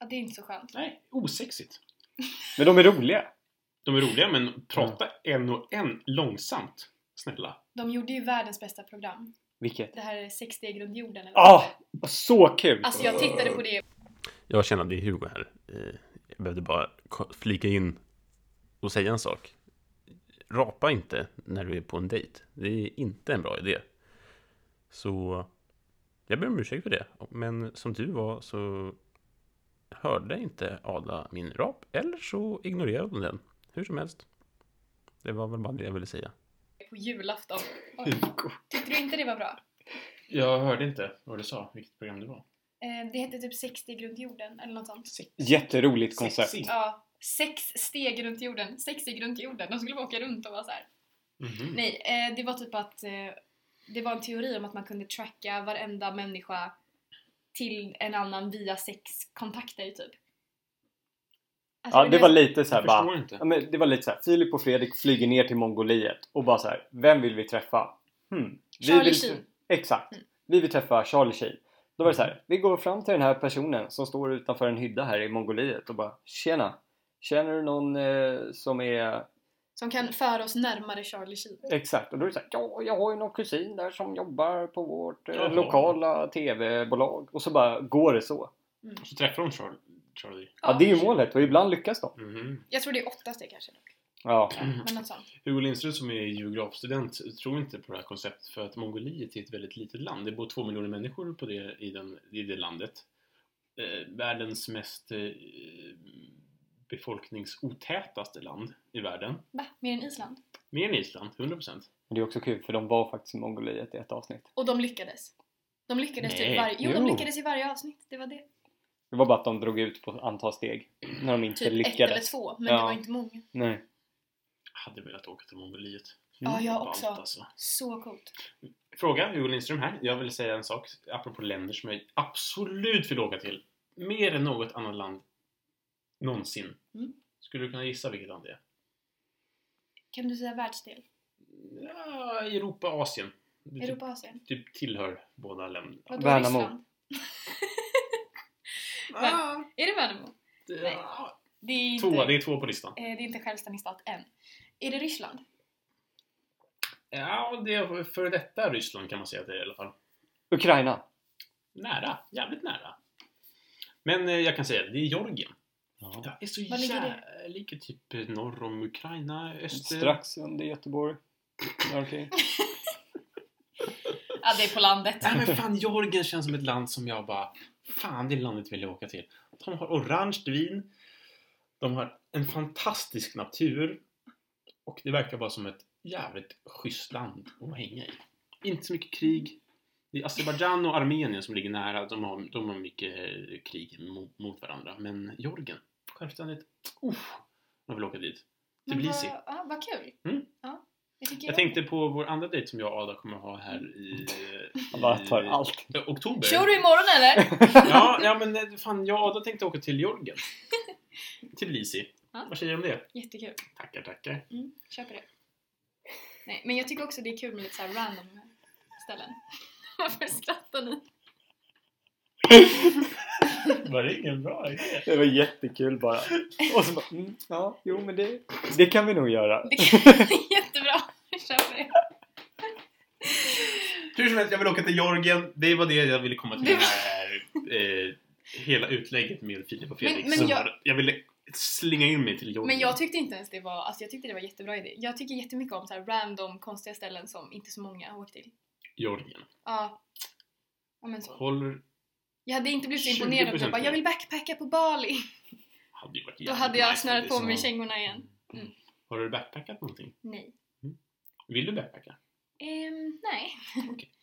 C: ja, det är inte så skönt.
B: nej, osexigt.
A: Men de är roliga.
B: De är roliga, men prata en och en långsamt. Snälla.
C: De gjorde ju världens bästa program.
A: Vilket?
C: Det här är sex steg runt jorden. Eller
A: Ah!
C: vad det
A: Så kul!
C: är. Alltså jag tittade på det.
D: Jag känner att det är Hugo här. Eh, Jag behövde bara ko- flika in och säga en sak. Rapa inte när du är på en dejt. Det är inte en bra idé. Så jag ber om ursäkt för det. Men som tur var så hörde inte Ada min rap. Eller så ignorerade hon den. Hur som helst. Det var väl bara det jag ville säga.
C: på julafton. Oj. Tyckte du inte det var bra?
B: Jag hörde inte vad du sa, vilket program det var.
C: Eh, Det hette typ sex steg runt jorden eller något sånt.
A: Jätteroligt koncept.
B: Sexigt.
C: Ja. Sex steg runt jorden. Sex steg runt jorden. De skulle åka runt och vara så här.
B: Mhm.
C: Nej, eh, det var typ att eh, det var en teori om att man kunde tracka varenda människa till en annan via sexkontakter typ. Alltså,
A: Ja, det var lite
B: Jag
A: såhär
B: förstår
A: bara...
B: inte.
A: Ja, men det var lite såhär, Filip och Fredrik flyger ner till Mongoliet och bara såhär, vem vill vi träffa? Hmm. Vi
C: Charlie
A: vill...
C: Sheen.
A: Exakt.
C: Mm.
A: Vi vill träffa Charlie Sheen. Då var det så här, vi går fram till den här personen som står utanför en hydda här i Mongoliet och bara Tjena! Känner du någon eh, som är...
C: Som kan föra oss närmare Charlie Sheen.
A: Exakt, och då är det så här, ja, jag har ju någon kusin där som jobbar på vårt eh,
B: Jaha.
A: lokala TV-bolag. Och så bara går det så.
B: Så träffar de Charlie. Charlie.
C: Ah,
A: Ja, det är ju målet och ibland lyckas de.
B: Mhm.
C: Jag tror det är åtta steg kanske. dock.
A: Ja,
C: Men något sånt.
B: Hugo Lindström som är geografstudent tror inte på det här konceptet för att Mongoliet är ett väldigt litet land. Det bor två miljoner människor på det, i, den, i det landet. Eh, världens mest eh, befolkningsotätaste land i världen.
C: Va? Mer än Island?
B: Mer än Island, 100%.
A: men det är också kul för de var faktiskt i Mongoliet i ett avsnitt.
C: Och de lyckades. De lyckades
B: Nej.
C: typ varje... Jo, de
A: Jo.
C: lyckades i varje avsnitt. Det var det.
A: Det var bara att de drog ut på ett antal steg när de inte
C: Typ ett eller
A: lyckades.
C: två, men det
A: Ja.
C: var inte många.
A: Nej.
B: Jag hade velat åka till Mongoliet.
C: Ja, jag
B: Ballt,
C: också.
B: alltså.
C: Så coolt.
B: Fråga, Hugo Lindström här. Jag vill säga en sak apropå länder som jag absolut vill åka till. Mer än något annat land någonsin.
C: Mm.
B: Skulle du kunna gissa vilket land det är?
C: Kan du säga världsdel?
B: Ja, Europa, Asien. Det typ,
C: Europa, Asien?
B: typ tillhör båda länderna.
C: Vadå
A: Mm. Värnamo.
C: Ryssland?
B: Ah,
C: Är det Värnamo?
B: det,
C: Nej.
B: ah,
C: Det är inte,
B: två, det är två på listan.
C: eh, det är inte självständig stat än. Är det Ryssland?
B: Ja, det är före detta Ryssland kan man säga att det är i alla fall.
A: Ukraina.
B: Nära, jävligt nära. Men eh, jag kan säga, det är Georgien. Det är så
C: Var ligger
B: jävla... Ligger typ eh, norr om Ukraina, öster...
A: Strax under Göteborg. Däromkring.
C: Ja, det är på landet.
B: Nej men fan, Georgien känns som ett land som jag bara... Fan, det landet vill jag åka till. De har orange vin. De har en fantastisk natur. Och det verkar vara som ett jävligt schysst land att hänga i. Inte så mycket krig. Det är Azerbajdzjan och Armenien som ligger nära. De har, de har mycket eh, krig mot, mot varandra. Men Georgien, självständigt. Uff, jag vill åka dit.
C: Men
B: Tbilisi.
C: Vad, ja, vad kul.
B: Mm.
C: Ja, det tycker
B: Jag tänkte på vår andra dejt som jag och Ada kommer ha här i...
A: Han bara tar
B: i-
A: allt.
B: eh, Oktober.
C: Kör du imorgon eller?
B: Ja, ja men eh, fan, jag och Ada tänkte åka till Georgien. Tbilisi.
C: Ja.
B: Vad säger du om det?
C: Jättekul.
B: Tackar, tackar.
C: Mm, köper det. Nej, men jag tycker också det är kul med lite så här random ställen. Varför skrattar ni?
B: Var det ingen bra idé?
A: Det var jättekul bara. Och så bara, mm, ja, jo men det, det kan vi nog göra.
C: Det kan- Jättebra! Jag kör på det.
B: Hur som helst, jag vill åka till Georgien. Det var det jag ville komma till med det här eh, hela utlägget med Filip och Fredrik.
C: Men- men
B: som
C: jag-
B: var- jag ville slinga in mig till Georgien.
C: Men jag tyckte inte ens det var, alltså jag tyckte det var jättebra idé. Jag tycker jättemycket om så här random konstiga ställen som inte så många har åkt till.
B: Georgien.
C: Ja. Ja men så.
B: Håller...
C: Jag hade inte blivit så imponerad om jag
B: 20%
C: bara, jag vill backpacka på Bali.
B: Hade ju varit
C: Då
B: jävligt
C: hade jag
B: nice
C: snörat på
B: faktiskt.
C: mig
B: Ja.
C: kängorna igen. Mm.
B: Har du backpackat någonting?
C: Nej.
B: Vill du backpacka?
C: Ehm, nej.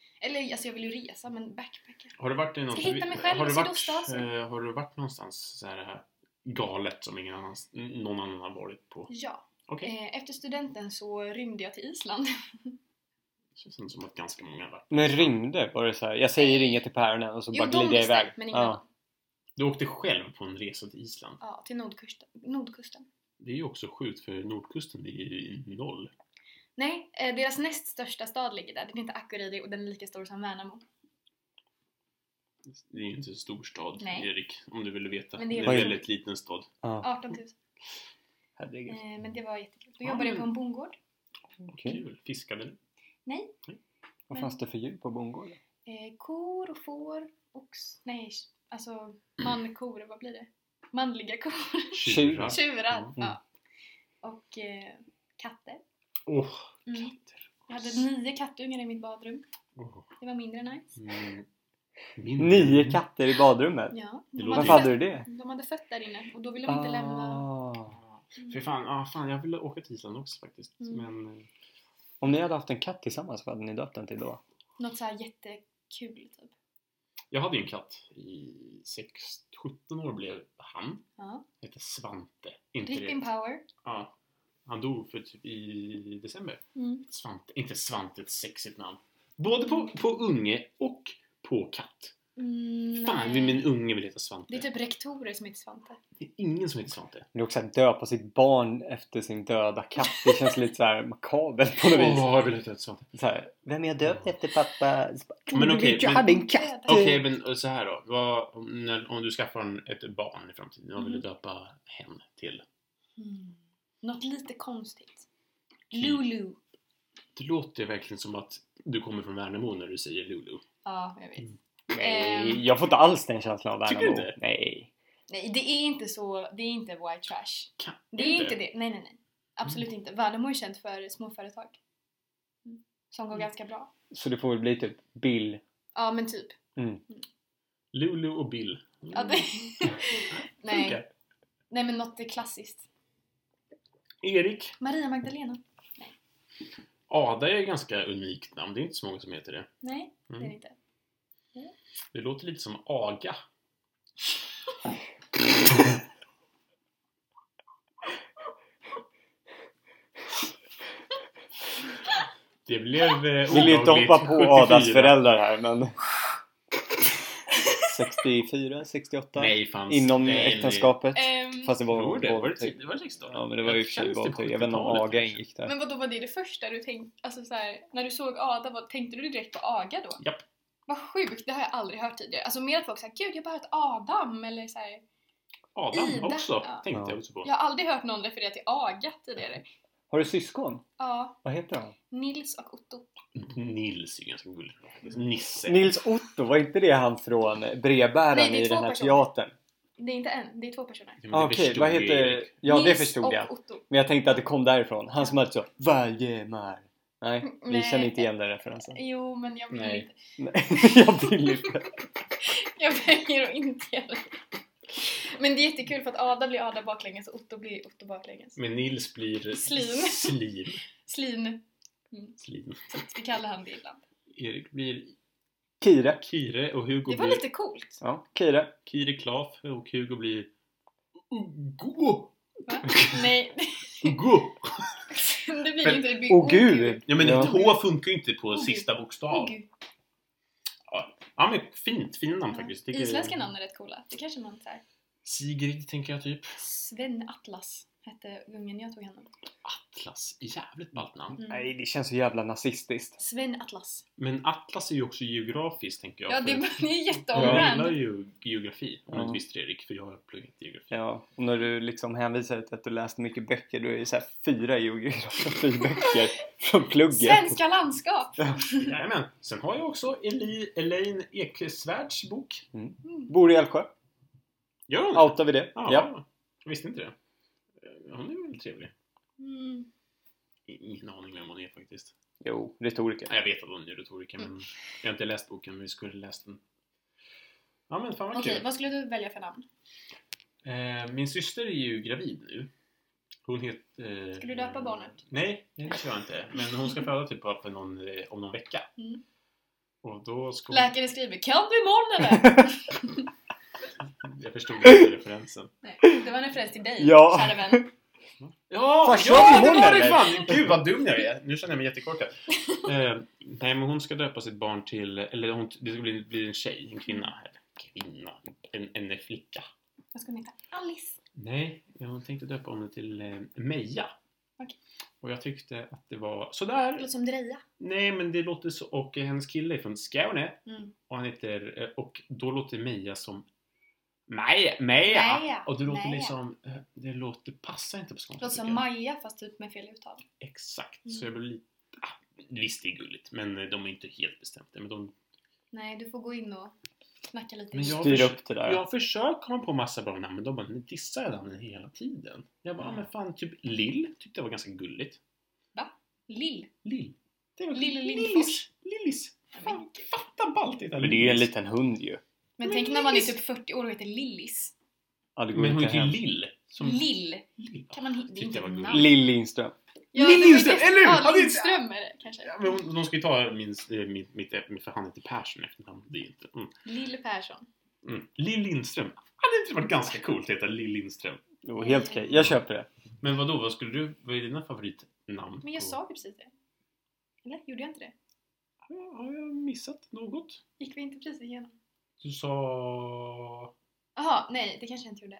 C: Eller alltså jag vill ju resa men backpacka.
B: Har du varit i någon...
C: hitta mig själv
B: har du
C: i
B: varit,
C: Sydostasien.
B: eh, har du varit någonstans så här, här galet som ingen annan, någon annan har varit på?
C: Ja.
B: Okej.
C: Eh, efter studenten så rymde jag till Island.
B: Det känns ändå som att ganska många har varit.
A: Men ringde var det så här. jag säger inget till päronen och så
C: Jo,
A: bara
C: de
A: glider jag
C: visste,
A: iväg.
C: men ingen annan.
A: ja.
B: Du åkte själv på en resa till Island.
C: Ja, till nordkusten. nordkusten.
B: Det är ju också sjukt för Nordkusten är ju noll.
C: Nej, eh, deras näst största stad ligger där. Den heter Akureyri och den är lika stor som Värnamo.
B: Det är ju inte en stor stad,
C: Nej.
B: Erik, om du ville veta.
C: Men
B: det
C: det
B: är
C: är
B: en
A: väl-
B: väldigt liten stad.
A: ja.
C: 18 000.
A: Herregud. Mm.
C: Eh, men det var jättekul. Då
B: Ja,
C: jobbade jag
B: men-
C: på en bondgård.
A: Okej.
B: Kul. Fiskade du?
A: Vad fanns det för djur på bondgården?
C: Eh, kor och får, ox, nej, sh- alltså mankor, vad blir det? Manliga kor.
A: Tjurar.
C: Tjurar,
B: Ja. Mm,
C: ja. Och eh, katter.
B: Åh,
C: Mm.
B: katter.
C: Jag hade nio kattungar i mitt badrum.
B: Åh.
C: Det var mindre nice.
B: Mm. Min-
A: Nio katter i badrummet?
C: Ja,
B: Det
C: de
B: låter-
C: hade,
A: Varför hade
C: fött,
A: du det?
C: de hade fött där inne och då ville de inte lämna.
A: Ah.
B: Fy fan, ah, fan, jag ville åka till Island också faktiskt.
C: Mm.
B: Men eh,
A: Om ni hade haft en katt tillsammans, vad hade ni döpt den till då?
C: Något så här jättekul typ.
B: jag hade ju en katt i 6-17 år blev han.
C: Ja.
B: Hette Svante. Inte
C: Rip
B: det.
C: in power.
B: Ja. Han dog för typ i december.
C: Mm.
B: Svante, inte Svante ett sexigt namn. Både på, på unge och på katt.
C: Mm,
B: Fan,
C: nej.
B: min unge vill heta Svante.
C: Det är typ rektorer som heter Svante.
B: Det är ingen som heter Svante.
A: Men det är också att döpa sitt barn efter sin döda katt. Det känns lite så här makabert på något vis.
B: Åh, jag vill heta Svante.
A: Så här, Vem är jag döpt efter pappa? Så bara,
B: Men okej,
A: Jag
B: men-
A: hade en katt!
C: Typ-
B: Okej, men eh, så här då. Vad, om, när, om du skaffar en, ett barn i framtiden, vad vill du döpa hen till?
C: Mm. Något lite konstigt. Lulu.
B: Det låter verkligen som att du kommer från Värnamo när du säger Lulu.
C: Ja, jag vet.
A: Nej, jag får inte alls den känslan av
B: Ehm. Tycker
A: Värnamo.
B: du inte?
A: Nej.
C: Nej, det är inte så, det är inte white trash.
B: Kan
C: Det är inte det. Nej, nej, nej. Absolut inte. Värnamo är känt för småföretag. Mm. Som går
B: Mm.
C: ganska bra.
A: Så det får väl bli typ Bill.
C: Ja, men typ.
B: Lulu och Bill.
C: Ja, det... nej.
B: Funkar.
C: nej, men något klassiskt.
B: Erik.
C: Maria Magdalena.
B: Ada är ett ganska unikt namn. Det är inte så många som heter det.
C: Nej, det är det
B: Mm.
C: inte.
B: Det låter lite som Aga. Det blev eh,
A: Vill ju inte
B: olagligt.
A: hoppa på Adas
B: 74.
A: föräldrar här men... 64, 68?
B: Nej, fanns.
A: Inom
B: nej, nej.
A: äktenskapet?
C: Ehm,
A: Fast det var
B: Tror det? Var det
A: våldtäkt.
B: tid- det var 16?
A: Ja men det var ju i och för sig
B: Känns det
A: våldtäkt. Jag vet inte om
B: 70-talet
A: aga
B: kanske?
A: ingick där.
C: men vad då var det det första du tänkte? Alltså så här, när du såg Ada, vad, tänkte du direkt på Aga då?
B: Japp.
C: Vad sjukt, det har jag aldrig hört tidigare. Alltså mer att folk säger gud jag har bara hört Adam eller så här.
B: Adam
C: Ida.
B: också,
C: Ja.
B: tänkte jag
A: Ja.
B: också på.
C: Jag har aldrig hört någon referera till Aga tidigare.
A: Har du syskon?
C: Ja,
A: Vad heter han?
C: Nils och Otto.
B: Nils är ju ganska gullig. Nisse.
A: Nils Otto, var inte det han från
C: Nej,
A: brevbäraren
C: det är
A: i
C: två
A: den här
C: personer.
A: teatern?
C: Det är inte en, det är två personer.
B: Ja, men Mm, det
A: Ah, Okej,
B: förstod
A: vad
B: ju
A: heter...
B: Erik.
A: Ja det
C: Nils
A: förstod
C: och
A: jag.
C: Otto.
A: Men jag tänkte att det kom därifrån. Han som hade så Varje mar. Nej, vi
C: Nej.
A: känner inte igen den referensen.
C: Jo, men jag vill
B: Nej.
C: inte.
A: Alltså. Nej, jag vill inte.
C: Jag väljer att inte göra det. Men det är jättekul för att Ada blir Ada baklänges och Otto blir Otto baklänges.
B: Men Nils blir...
C: Slin.
B: Slin.
C: Slin.
B: Slin.
C: Vi kallar han det ibland.
B: Erik blir
A: Kire.
B: Kire och Hugo
C: Det var
B: blir...
C: lite coolt.
A: Ja, Kire.
B: Kire Klaf och Hugo blir... Ugo!
C: Va? Nej,
B: Ugo!
C: det blir
B: Men-
C: inte. Det blir
A: Åh gud!
B: Ja men
A: Ja.
B: ett H funkar ju inte på
C: Ugo.
B: sista bokstav.
C: Åh, gud.
B: Ja men fint, fina namn faktiskt.
C: Ja.
B: Tycker-
C: Isländska namn är rätt coola. Det kanske man säger.
B: Sigrid tänker jag typ.
C: Sven Atlas. hette ungen jag tog hand om.
B: Atlas, jävligt ballt namn.
C: Mm.
A: Nej, det känns så jävla nazistiskt.
C: Sven Atlas.
B: Men Atlas är ju också geografiskt, tänker jag.
C: Ja,
B: för
C: det,
B: att-
C: det är
B: Jag gillar
C: jätteombrand.
B: ju geografi, om du
A: Ja.
B: inte visste det Erik, för jag har pluggat geografi.
A: Ja, och när du liksom hänvisar till att du läst mycket böcker, då är det så här fyra geografiböcker från plugget.
C: Svenska landskap!
B: Jajamän. Sen har jag också Eli, Elaine Ekesvärds bok.
C: Mm.
A: Bor i Älvsjö.
B: Gör hon?
A: Outar vi det?
B: Ja.
A: ja.
B: Jag visste inte det. Eh, Hon är väl trevlig?
C: Mm.
B: I- Ingen aning vem hon är faktiskt.
A: Jo, retoriker.
B: Nej, jag vet att hon är retoriker,
C: Mm.
B: men jag har inte läst boken, men vi skulle läst den. Ja, men fan vad
C: Okej,
B: kul.
C: vad skulle du välja för namn?
B: Eh, min syster är ju gravid nu. Hon heter... Eh,
C: Ska du döpa barnet?
B: Nej, det tror jag inte. Men hon ska föda typ bara för någon, eh, om någon vecka.
C: Mm.
B: Och då ska hon...
C: Läkaren skriver Kan du imorgon eller?
B: Jag förstod inte referensen.
C: Nej, det var en referens till dig,
A: Ja.
C: kära vän.
B: Ja,
A: Fan,
B: ja
A: kör
B: det
A: vi
B: var
A: håller,
B: det
A: eller?
B: fan! Gud vad dum jag är. Nu känner jag mig jättekorkad. eh, nej, men hon ska döpa sitt barn till, eller hon, det ska bli, bli en tjej, en kvinna. Eller, kvinna? En, en flicka.
C: Vad ska hon heta? Alice.
B: Nej, hon tänkte döpa henne till eh, Meja.
C: Okej.
B: Och jag tyckte att det var
C: Det
B: sådär.
C: låter som Dreja.
B: Nej, men det låter så. Och eh, hennes kille är från Skåne.
C: Mm.
B: Och han heter, eh, och då låter Meja som Meja! Meja!
C: Meja,
B: Och det låter
C: Meja.
B: liksom, eh, det låter, passar inte på skånska.
C: Det låter som
B: tycker jag.
C: Maja fast typ med fel uttal.
B: Exakt,
C: Mm.
B: så jag blev lite... Ah, visst, det är gulligt, men eh, de är inte helt bestämda. Men, de,
C: Nej, du får gå in och snacka lite.
B: men jag,
A: Styr
B: förs-
A: upp det där.
B: jag försöker komma på massa bra namn, men de bara ni dissar jag namnen hela tiden. Jag bara, ah,
C: Mm.
B: men fan, typ Lill tyckte jag var ganska gulligt.
C: Lill.
B: Lill. Det var
C: Lill och
B: Lillis. Lillis. Fan, fatta ballt det
A: Men det är ju en liten hund ju.
C: Men,
B: Men
C: tänk när man är
B: Lillis.
C: typ 40 år och heter Lillis.
A: Ja, det går
B: Men hon
A: inte
B: heter ju
A: hem.
B: Lill. Som
C: Lill.
B: Lill.
C: Kan man hitta?
B: Tyckte jag var gulligt.
A: Lill Lindström.
B: Lill
C: det-
B: Lindström, eller hur?
C: Ja,
B: Han är-
C: Lindström är det kanske.
B: Ja, men hon- de ska ju ta min, eh, mitt, mitt, mitt, för han heter Persson i efternamn. Det är inte... Mm.
C: Lill Persson.
B: Mm. Lill Lindström. Hade inte varit ganska coolt att heta Lill Lindström?
A: Jo, helt okej. Jag köper det.
B: Men vad då? vad skulle du, vad är dina favoritnamn?
C: Men jag
B: på-
C: sa ju precis det. Eller? Gjorde jag inte det?
B: Ja, Har jag missat något?
C: Gick vi inte precis igenom?
B: Du sa...
C: Jaha, nej det kanske jag inte gjorde.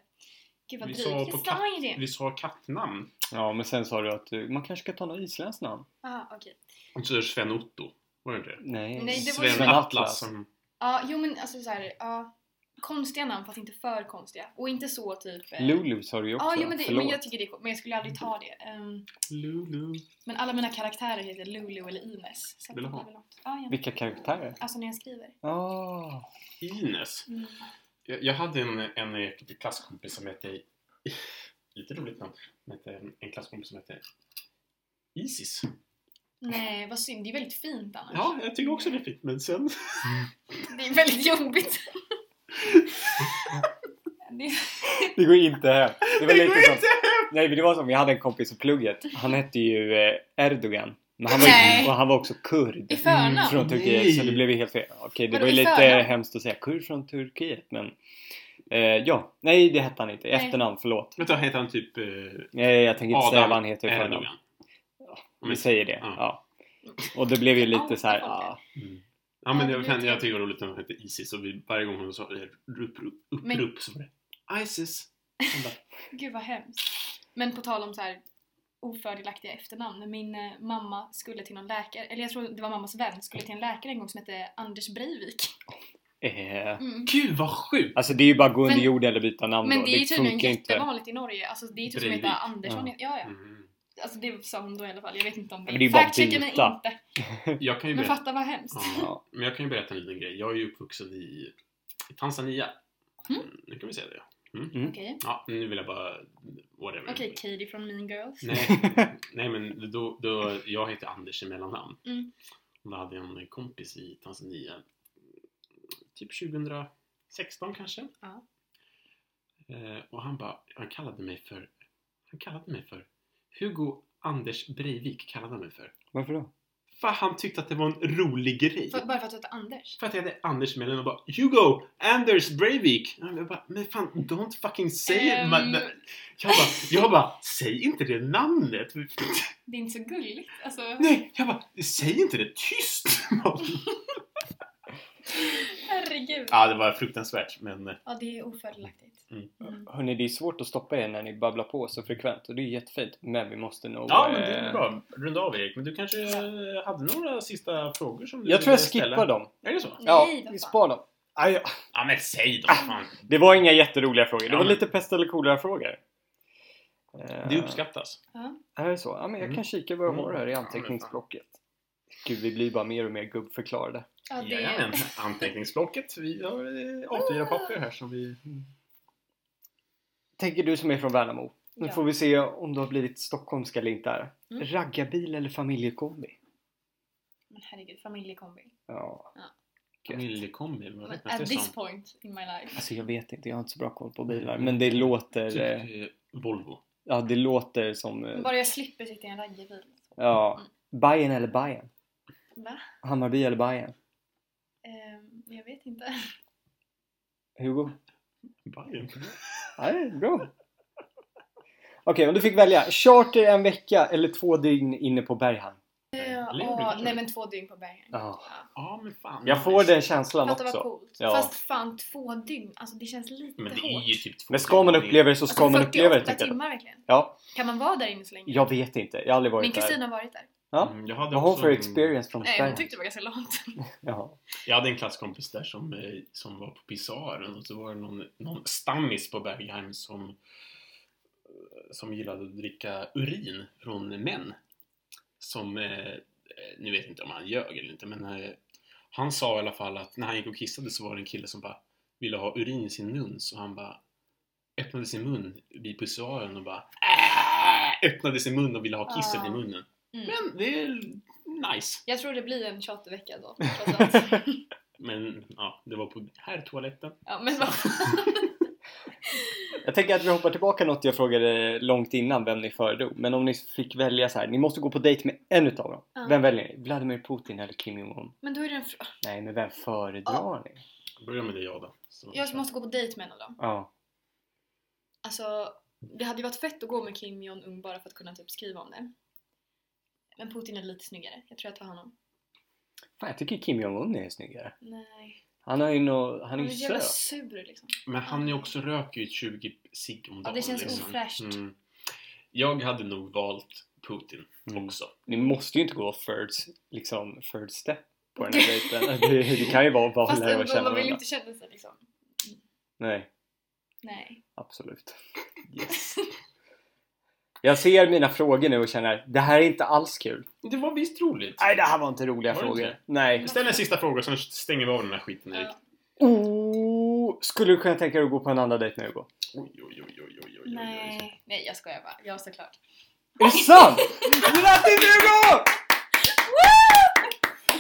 C: Gud vad
B: Vi
C: drygt.
B: sa
C: Jag
B: på
C: sa ju det.
B: Vi sa kattnamn.
A: Ja, men sen sa du att eh, man kanske ska ta något isländskt namn.
C: Jaha, okej.
B: Och så Sven-Otto. Var det inte det?
A: Nej.
C: Nej, det var ju-
B: Sven Atlas. Som,
C: Ja, jo men alltså såhär, ja. Konstiga namn fast inte för konstiga. Och inte så typ... eh,
A: Lulu sa du ju också.
C: Ja, jo, men, det,
A: Förlåt.
C: men jag tycker det är coolt. Men jag skulle aldrig ta det. Ehm,
B: Lulu.
C: men alla mina karaktärer heter Lulu eller Ines. Så att
B: Vill du
C: det
B: ha?
C: blir väl något. Ja, gärna.
A: Vilka karaktärer?
C: Alltså när jag skriver.
A: Ah.
B: Ines.
C: Mm.
B: Jag, jag hade en, en eh, klasskompis som hette... Lite roligt namn. Som hette, en klasskompis som hette Isis.
C: Nej, vad synd. Det är väldigt fint annars.
B: Ja, jag tycker också det är fint. Men sen...
C: Det är väldigt jobbigt. det är...
A: Det går inte hem. Det var
B: Det går
A: lite som... Nej, men det var som, jag hade en kompis i plugget. Han hette ju eh, Erdogan. Men han var,
C: Nej.
A: ju, och han var också kurd.
C: I förnamn?
A: Från Turkiet, så
B: Nej.
A: det blev ju helt fel. Okej, det
C: Vadå,
A: var ju
C: i
A: lite
C: förnamn?
A: hemskt att säga kurd från Turkiet, men... Eh, ja, nej det hette han inte.
C: Nej.
A: Efternamn, förlåt.
B: Vänta, heter han typ... Eh,
A: Nej, jag tänker inte säga vad han heter i förnamn.
B: Erdogan?
A: Vi säger det.
B: Ja.
A: Ja. Och det blev ju lite
C: Outa
A: så här,
C: folk.
A: ja.
B: Mm. Ja, men
C: Ja,
B: jag,
C: det
B: kan,
C: blir
B: jag
C: kul.
B: tycker det var roligt när hon hette Isis och vi, varje gång hon sa eh, rup, rup, upp,
C: Men-
B: rup, så var det Isis. Hon bara,
C: Gud vad hemskt. Men på tal om så här ofördelaktiga efternamn. Min eh, mamma skulle till någon läkare, eller jag tror det var mammas vän, skulle till en läkare en gång som hette Anders Breivik.
A: Eh,
C: Mm.
B: Gud vad sjukt!
A: alltså det är ju bara att gå under
C: Men-
A: jorden eller byta namn
C: Men
A: då.
C: det är ju tydligen
A: funkar ju inte.
C: jättevanligt i Norge. Alltså det är typ som
B: Breivik.
C: heter Andersson. Ja,
A: Ja.
C: ja.
B: Mm.
C: Alltså det sa hon då i alla fall. Jag vet inte om det
A: Men det är ju bara
C: Fact-checkar mig
A: byta.
C: inte.
B: Jag kan ju
C: Men
B: berätta,
C: fatta vad hemskt.
B: ja, men jag kan ju berätta en liten grej. Jag är ju uppvuxen i, i Tanzania.
C: Mm.
B: Mm, Nu kan vi säga det.
A: Mm.
C: Okej.
B: Ja, nu vill jag bara... Whatever.
C: Okej, Katie från Mean Girls.
B: Nej, nej men då, då, jag heter Anders i mellannamn.
C: Mm.
B: Och då hade jag en kompis i Tanzania, typ 2016 kanske.
C: Ja.
B: Eh, och han bara, han kallade mig för, han kallade mig för Hugo Anders Breivik kallade han mig för.
A: Varför då?
B: För han tyckte att det var en rolig grej.
C: För, bara för att du heter Anders.
B: För att jag hade Anders mellan och bara Hugo Anders Breivik. Jag bara, men fan don't fucking say it.
C: Ehm.
B: man." Jag bara, jag bara, säg inte det namnet.
C: Det är inte så gulligt. Alltså,
B: Nej, jag bara, säg inte det tyst!
C: herregud.
B: ja, det var fruktansvärt, men... eh,
C: Ja, det är ofördelaktigt.
A: Hörni, det är svårt att stoppa er när ni babblar på så frekvent och det är jättefint. Men vi måste nog...
B: Ja, men det är
A: eh,
B: bra. Runda av Erik. Men du kanske eh, hade några sista frågor som du
A: Jag tror jag
B: ville ställa?
A: skippar dem.
B: Är det så?
A: Ja,
C: Nej, vad
A: vi
C: fan.
A: spar dem. Aj,
B: Ja men säg då
A: Ah.
B: fan.
A: det var inga jätteroliga frågor. Det
B: Ja,
A: var
B: men-
A: lite pest eller kolera-frågor. Eh,
B: Det uppskattas.
C: Ja.
A: Är det så? Ja, men jag
B: Mm.
A: kan kika vad jag
B: Mm.
A: har här i
B: Ja, men fan.
A: anteckningsblocket. Gud, vi blir bara mer och mer gubbförklarade.
C: Ja, det
B: Jajamän. Anteckningsblocket. Vi har eh, A4-papper här som vi...
A: Tänker du som är från Värnamo. Nu
C: Ja.
A: får vi se om du har blivit stockholmska eller inte här.
C: Mm.
A: Raggarbil eller familjekombi?
C: Men herregud, familjekombi.
A: Ja.
C: Ja.
A: Gött.
B: Familjekombi, vad
C: Men
B: räknas det
C: At this
B: som?
C: point in my life.
A: Alltså jag vet inte, jag har inte så bra koll på bilar. Men det låter...
B: Mm. Typ
A: eh,
B: eh, Volvo.
A: Ja, det låter som... eh,
C: Bara jag slipper sitta i en raggarbil.
A: Ja.
C: Mm.
A: Bayern eller Bayern?
C: Va?
A: Hammarby eller Bayern?
C: Ehm, jag vet inte.
A: Hugo?
B: Bajen.
A: Nej, bra. Okej, om du fick välja. Charter en vecka eller två dygn inne på Berghamn?
C: Eh,
B: Lever
C: åh,
B: kanske?
C: nej men två dygn på bergen.
A: Ja.
B: Ja men fan.
A: Jag får den känslan
C: Fattar vad
A: också.
C: coolt.
A: Ja.
C: Fast fan två dygn, alltså det känns lite
B: Men det är
C: hårt.
B: ju typ två
A: Men ska man
B: timmar.
A: uppleva det så ska
C: Alltså,
A: man uppleva det,
C: 48
A: tycker jag.
C: timmar verkligen.
A: Ja,
C: Kan man vara där inne så länge?
A: jag vet inte. Jag har aldrig
C: Min
A: varit där.
C: kusin har varit där.
A: Ja.
B: Mm, jag hade
A: Vad har hon
B: också
A: för
B: en-
A: experience från
C: Nej, typ- hon
A: Sverige?
C: tyckte det var ganska långt.
A: Jaha.
B: Jag hade en klasskompis där som, eh, som var på pisaren och så var det någon, någon stammis på Bergheim som, eh, som gillade att dricka urin från män. Som, eh, eh, nu vet jag inte om han ljög eller inte, men eh, han sa i alla fall att när han gick och kissade så var det en kille som bara ville ha urin i sin nuns och han bara öppnade sin mun vid pisaren och bara "Äh!" öppnade sin mun och ville ha kisset
C: Ah.
B: i munnen.
C: Mm.
B: Men det är nice.
C: Jag tror det blir en chartervecka då. trots allt.
B: Men ja, det var på här toaletten.
C: ja, men vad
A: Jag tänker att vi hoppar tillbaka något jag frågade långt innan vem ni föredrog. Men om ni fick välja så här, ni måste gå på dejt med en utav dem.
C: Ja.
A: Vem väljer ni? Vladimir Putin eller Kim Jong-Un?
C: Men då är det en fr-
A: Nej, men vem föredrar ni?
B: Börja med dig Ada. Så-
C: Jag måste gå på dejt med en av dem.
A: Ja.
C: Alltså, det hade ju varit fett att gå med Kim Jong-Un bara för att kunna typ skriva om det. Men Putin är lite snyggare. Jag tror jag tar honom.
A: Fan, jag tycker Kim Jong-Un är snyggare.
C: Nej.
A: Han har ju nå... han
C: Han
A: är
C: är
A: ju
C: så jävla
A: söt.
C: sur liksom.
B: Men han är också röker ju 20 cigg om dagen.
C: det känns ofräscht.
B: Mm. Jag hade nog valt Putin
A: Mm.
B: också.
A: Ni måste ju inte gå first, liksom, first step på den här dejten. Det, det kan ju vara bara
C: Fast
A: lära och
C: ändå,
A: känna
C: man vill
A: varandra.
C: ju inte känna sig liksom.
A: Nej,
C: Nej.
A: absolut. Yes. Jag ser mina frågor nu och känner, det här är inte alls kul.
B: Det var visst roligt.
A: Nej, det här var inte roliga
B: Var det
A: frågor.
B: inte?
A: Nej.
B: Ställ en sista fråga sen stänger vi av den här skiten Erik.
C: Ja.
A: Oh, skulle du kunna tänka dig att gå på en andra dejt med Hugo?
B: Oj, oj, oj, oj, oj, oj, oj.
C: Nej. Nej, jag skojar bara. Ja, såklart.
A: Är det sant? Grattis Hugo!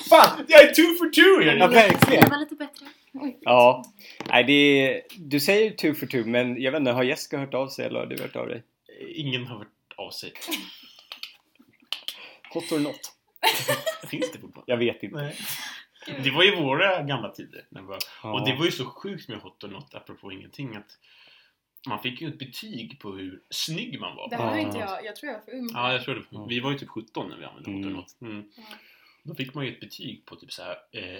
A: Fan!
B: Jag är two for two
A: Ja,
B: Erik!
A: verkligen.
C: var lite bättre. Oj.
A: Ja. Nej, det är, du säger two for two, men jag vet inte, har Jessica hört av sig eller har du hört av dig?
B: Ingen har hört av sig.
A: Hot or not?
B: Finns det fortfarande?
A: Jag vet inte.
B: Nej. Det var ju våra gamla tider. När vi var
A: Ja.
B: Och det var ju så sjukt med Hot or Not, apropå ingenting, att man fick ju ett betyg på hur snygg man var.
C: Det har ju inte jag. Jag tror jag var för ung.
B: Ja, jag tror det.
A: Ja.
B: Vi var ju typ 17 när vi använde Hot
A: Mm.
B: or Not. Mm.
C: Ja.
B: Då fick man ju ett betyg på typ såhär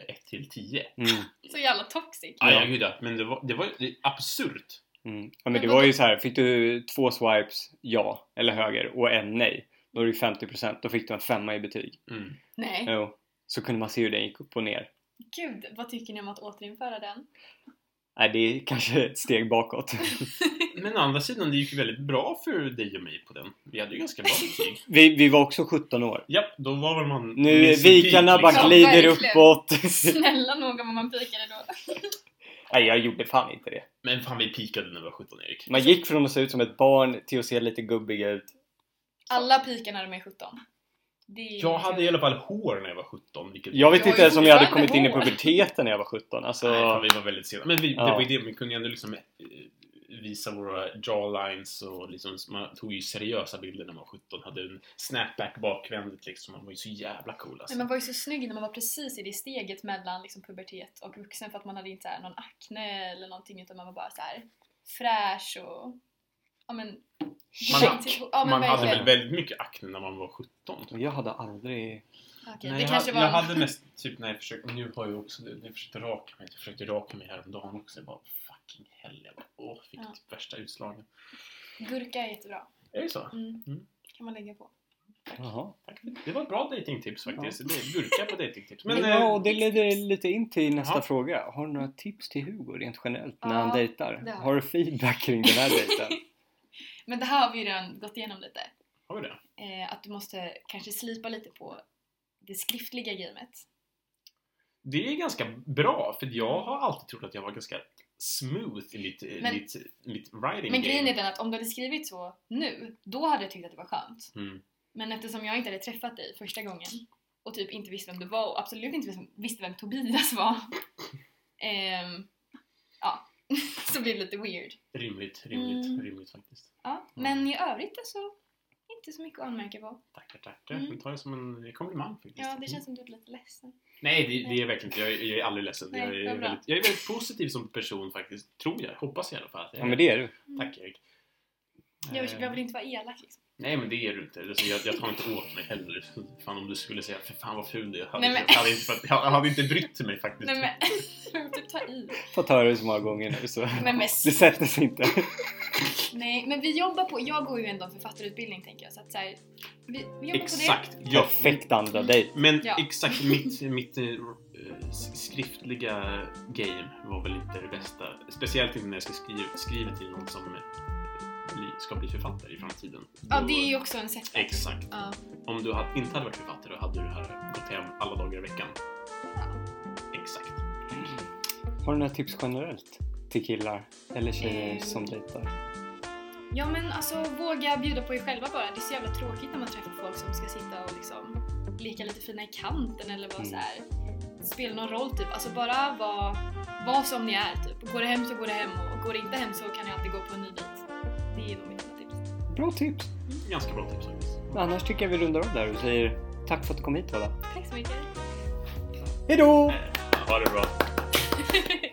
B: 1 till 10.
A: Mm,
C: Så jävla toxic.
B: Ja,
A: Ja.
B: ja, gud ja. Men det var, det var ju det är absurt.
A: mm. Ja, men det var ju så här, fick du två swipes ja, eller höger, och en nej, då är det ju 50%. Då fick du en femma i betyg.
B: Mm.
C: Nej.
A: Jo. Så kunde man se hur den gick upp och ner.
C: Gud, vad tycker ni om att återinföra den?
A: Nej, det är kanske ett steg bakåt.
B: Men å andra sidan, det gick ju väldigt bra för dig och mig på den. Vi hade ju ganska bra betyg.
A: Vi, vi var också 17 år.
B: Japp, då var väl man...
A: Nu
B: minst en peak,
A: vikarna bara
B: liksom.
C: glid-
A: glider
C: verkligen.
A: uppåt.
C: Snälla någon gång om man pikade då.
A: Nej, jag gjorde fan inte det.
B: Men fan, vi pikade när vi var 17, Erik.
A: Man gick från att se ut som ett barn till att se lite gubbig ut.
C: Alla pikar när de är 17. Det är
B: Jag hade i alla fall hår när jag var 17, vilket...
A: Jag vet
C: Jag
A: inte
C: är
A: ens om jag hade kommit
C: fortfarande
A: in i
C: hår.
A: puberteten när jag var 17. Alltså,
B: Nej, fan, vi var väldigt sena. Men vi,
A: Ja.
B: det var ju det, vi kunde ju ändå liksom eh, visa våra jawlines och liksom, man tog ju seriösa bilder när man var 17. Hade en snapback bakvändigt liksom. Man var ju så jävla cool alltså.
C: Men man var ju så snygg när man var precis i det steget mellan liksom pubertet och vuxen för att man hade inte så här någon akne eller någonting utan man var bara så här fräsch och... Ja men...
B: Man-
C: ja, men
B: man hade väl
C: verkligen.
B: väldigt mycket akne när man var 17.
A: jag hade aldrig...
C: Okej,
B: Nej,
C: det
B: jag,
C: kanske
B: hade-
C: var...
B: jag hade mest typ när jag försökte, nu har jag också det, när jag försökte raka mig. Jag försökte raka mig häromdagen också. Jag bara fuck. fucking hell. Jag bara, åh, fick
C: Ja.
B: typ värsta utslagen.
C: Gurka är jättebra.
B: Är det så?
C: Mm.
B: Mm.
C: Kan man lägga på.
A: Jaha.
B: Tack. Det var ett bra datingtips faktiskt. Det är Gurka på datingtips. Men,
A: Men, ja,
B: eh,
A: och det leder lite in till nästa
B: Ja.
A: fråga. Har du några tips till Hugo rent generellt när
C: Ja,
A: han dejtar?
C: det har jag.
A: Har du feedback kring den här dejten?
C: Men det här har vi ju redan gått igenom lite.
B: har vi det?
C: Eh, att du måste kanske slipa lite på det skriftliga gamet.
B: Det är ganska bra, för jag har alltid trott att jag var ganska smooth i mitt, eh,
C: Men-
B: mitt, mitt writing
C: Men grejen
B: game.
C: är den att om du hade skrivit så nu, då hade jag tyckt att det var skönt.
B: Mm.
C: Men eftersom jag inte hade träffat dig första gången och typ inte visste vem du var och absolut inte visste- visste vem Tobias var. ehm, ja, så blir det lite weird.
B: Rimligt, rimligt,
C: Mm.
B: rimligt faktiskt.
C: Ja,
B: Mm.
C: men i övrigt så inte så mycket att anmärka på.
B: Tackar, tackar.
C: Mm.
B: Det tar jag som en komplimang faktiskt.
C: Ja, det
B: Mm.
C: känns som du är lite ledsen.
B: Nej, det, det är jag verkligen inte. Jag, är- jag är aldrig ledsen.
C: Nej,
B: jag,
C: vad
B: är
C: bra.
B: väldigt, jag är väldigt positiv som person faktiskt. Tror jag. Hoppas jag i alla fall. att jag
A: Ja, men det är du.
B: Tack Erik.
C: Jag,
B: Eh,
C: jag vill inte vara elak liksom.
B: Nej men det är du inte. Alltså, jag, jag tar inte åt mig heller. Fan om du skulle säga för fan vad ful du är. Jag hade,
C: Nej, men-
B: jag hade, inte, fatt- jag hade inte brytt mig faktiskt.
C: Nej men, jag vill typ ta i.
A: Fått höra det så många gånger nu så
C: Nej men
A: det sätter sig inte.
C: Nej, men vi jobbar på... Jag går ju ändå en författarutbildning tänker jag, så att så här, vi, vi jobbar på
B: Exakt. Ja.
A: Perfekt andra dejt.
B: Men
C: Ja.
B: exakt mitt, mitt eh, s- skriftliga game var väl inte det bästa. Speciellt inte när jag ska skriva, skriva till någon som eh, bli, ska bli författare i framtiden.
C: det. Ja,
B: Då-
C: det är ju också en setback.
B: Exakt.
C: Ja,
B: Om du ha- inte hade varit författare då hade du här gått hem alla dagar i veckan. Exakt.
A: Har du några tips generellt till killar eller tjejer
C: Eh.
A: som dejtar?
C: ja men alltså våga bjuda på er själva bara. Det är så jävla tråkigt när man träffar folk som ska sitta och liksom leka lite fina i kanten eller vara
A: Mm.
C: så här. Spela någon roll typ. Alltså bara vara var som ni är typ. Går det hem så går det hem och går det inte hem så kan ni alltid gå på en ny dejt. Det är nog mitt enda tips.
A: Bra tips!
B: Ganska bra tips faktiskt.
A: Annars tycker jag vi rundar av där och säger tack för att du kom hit Ada.
C: Tack så mycket.
B: Eh,
A: Hejdå!
B: Ha det bra.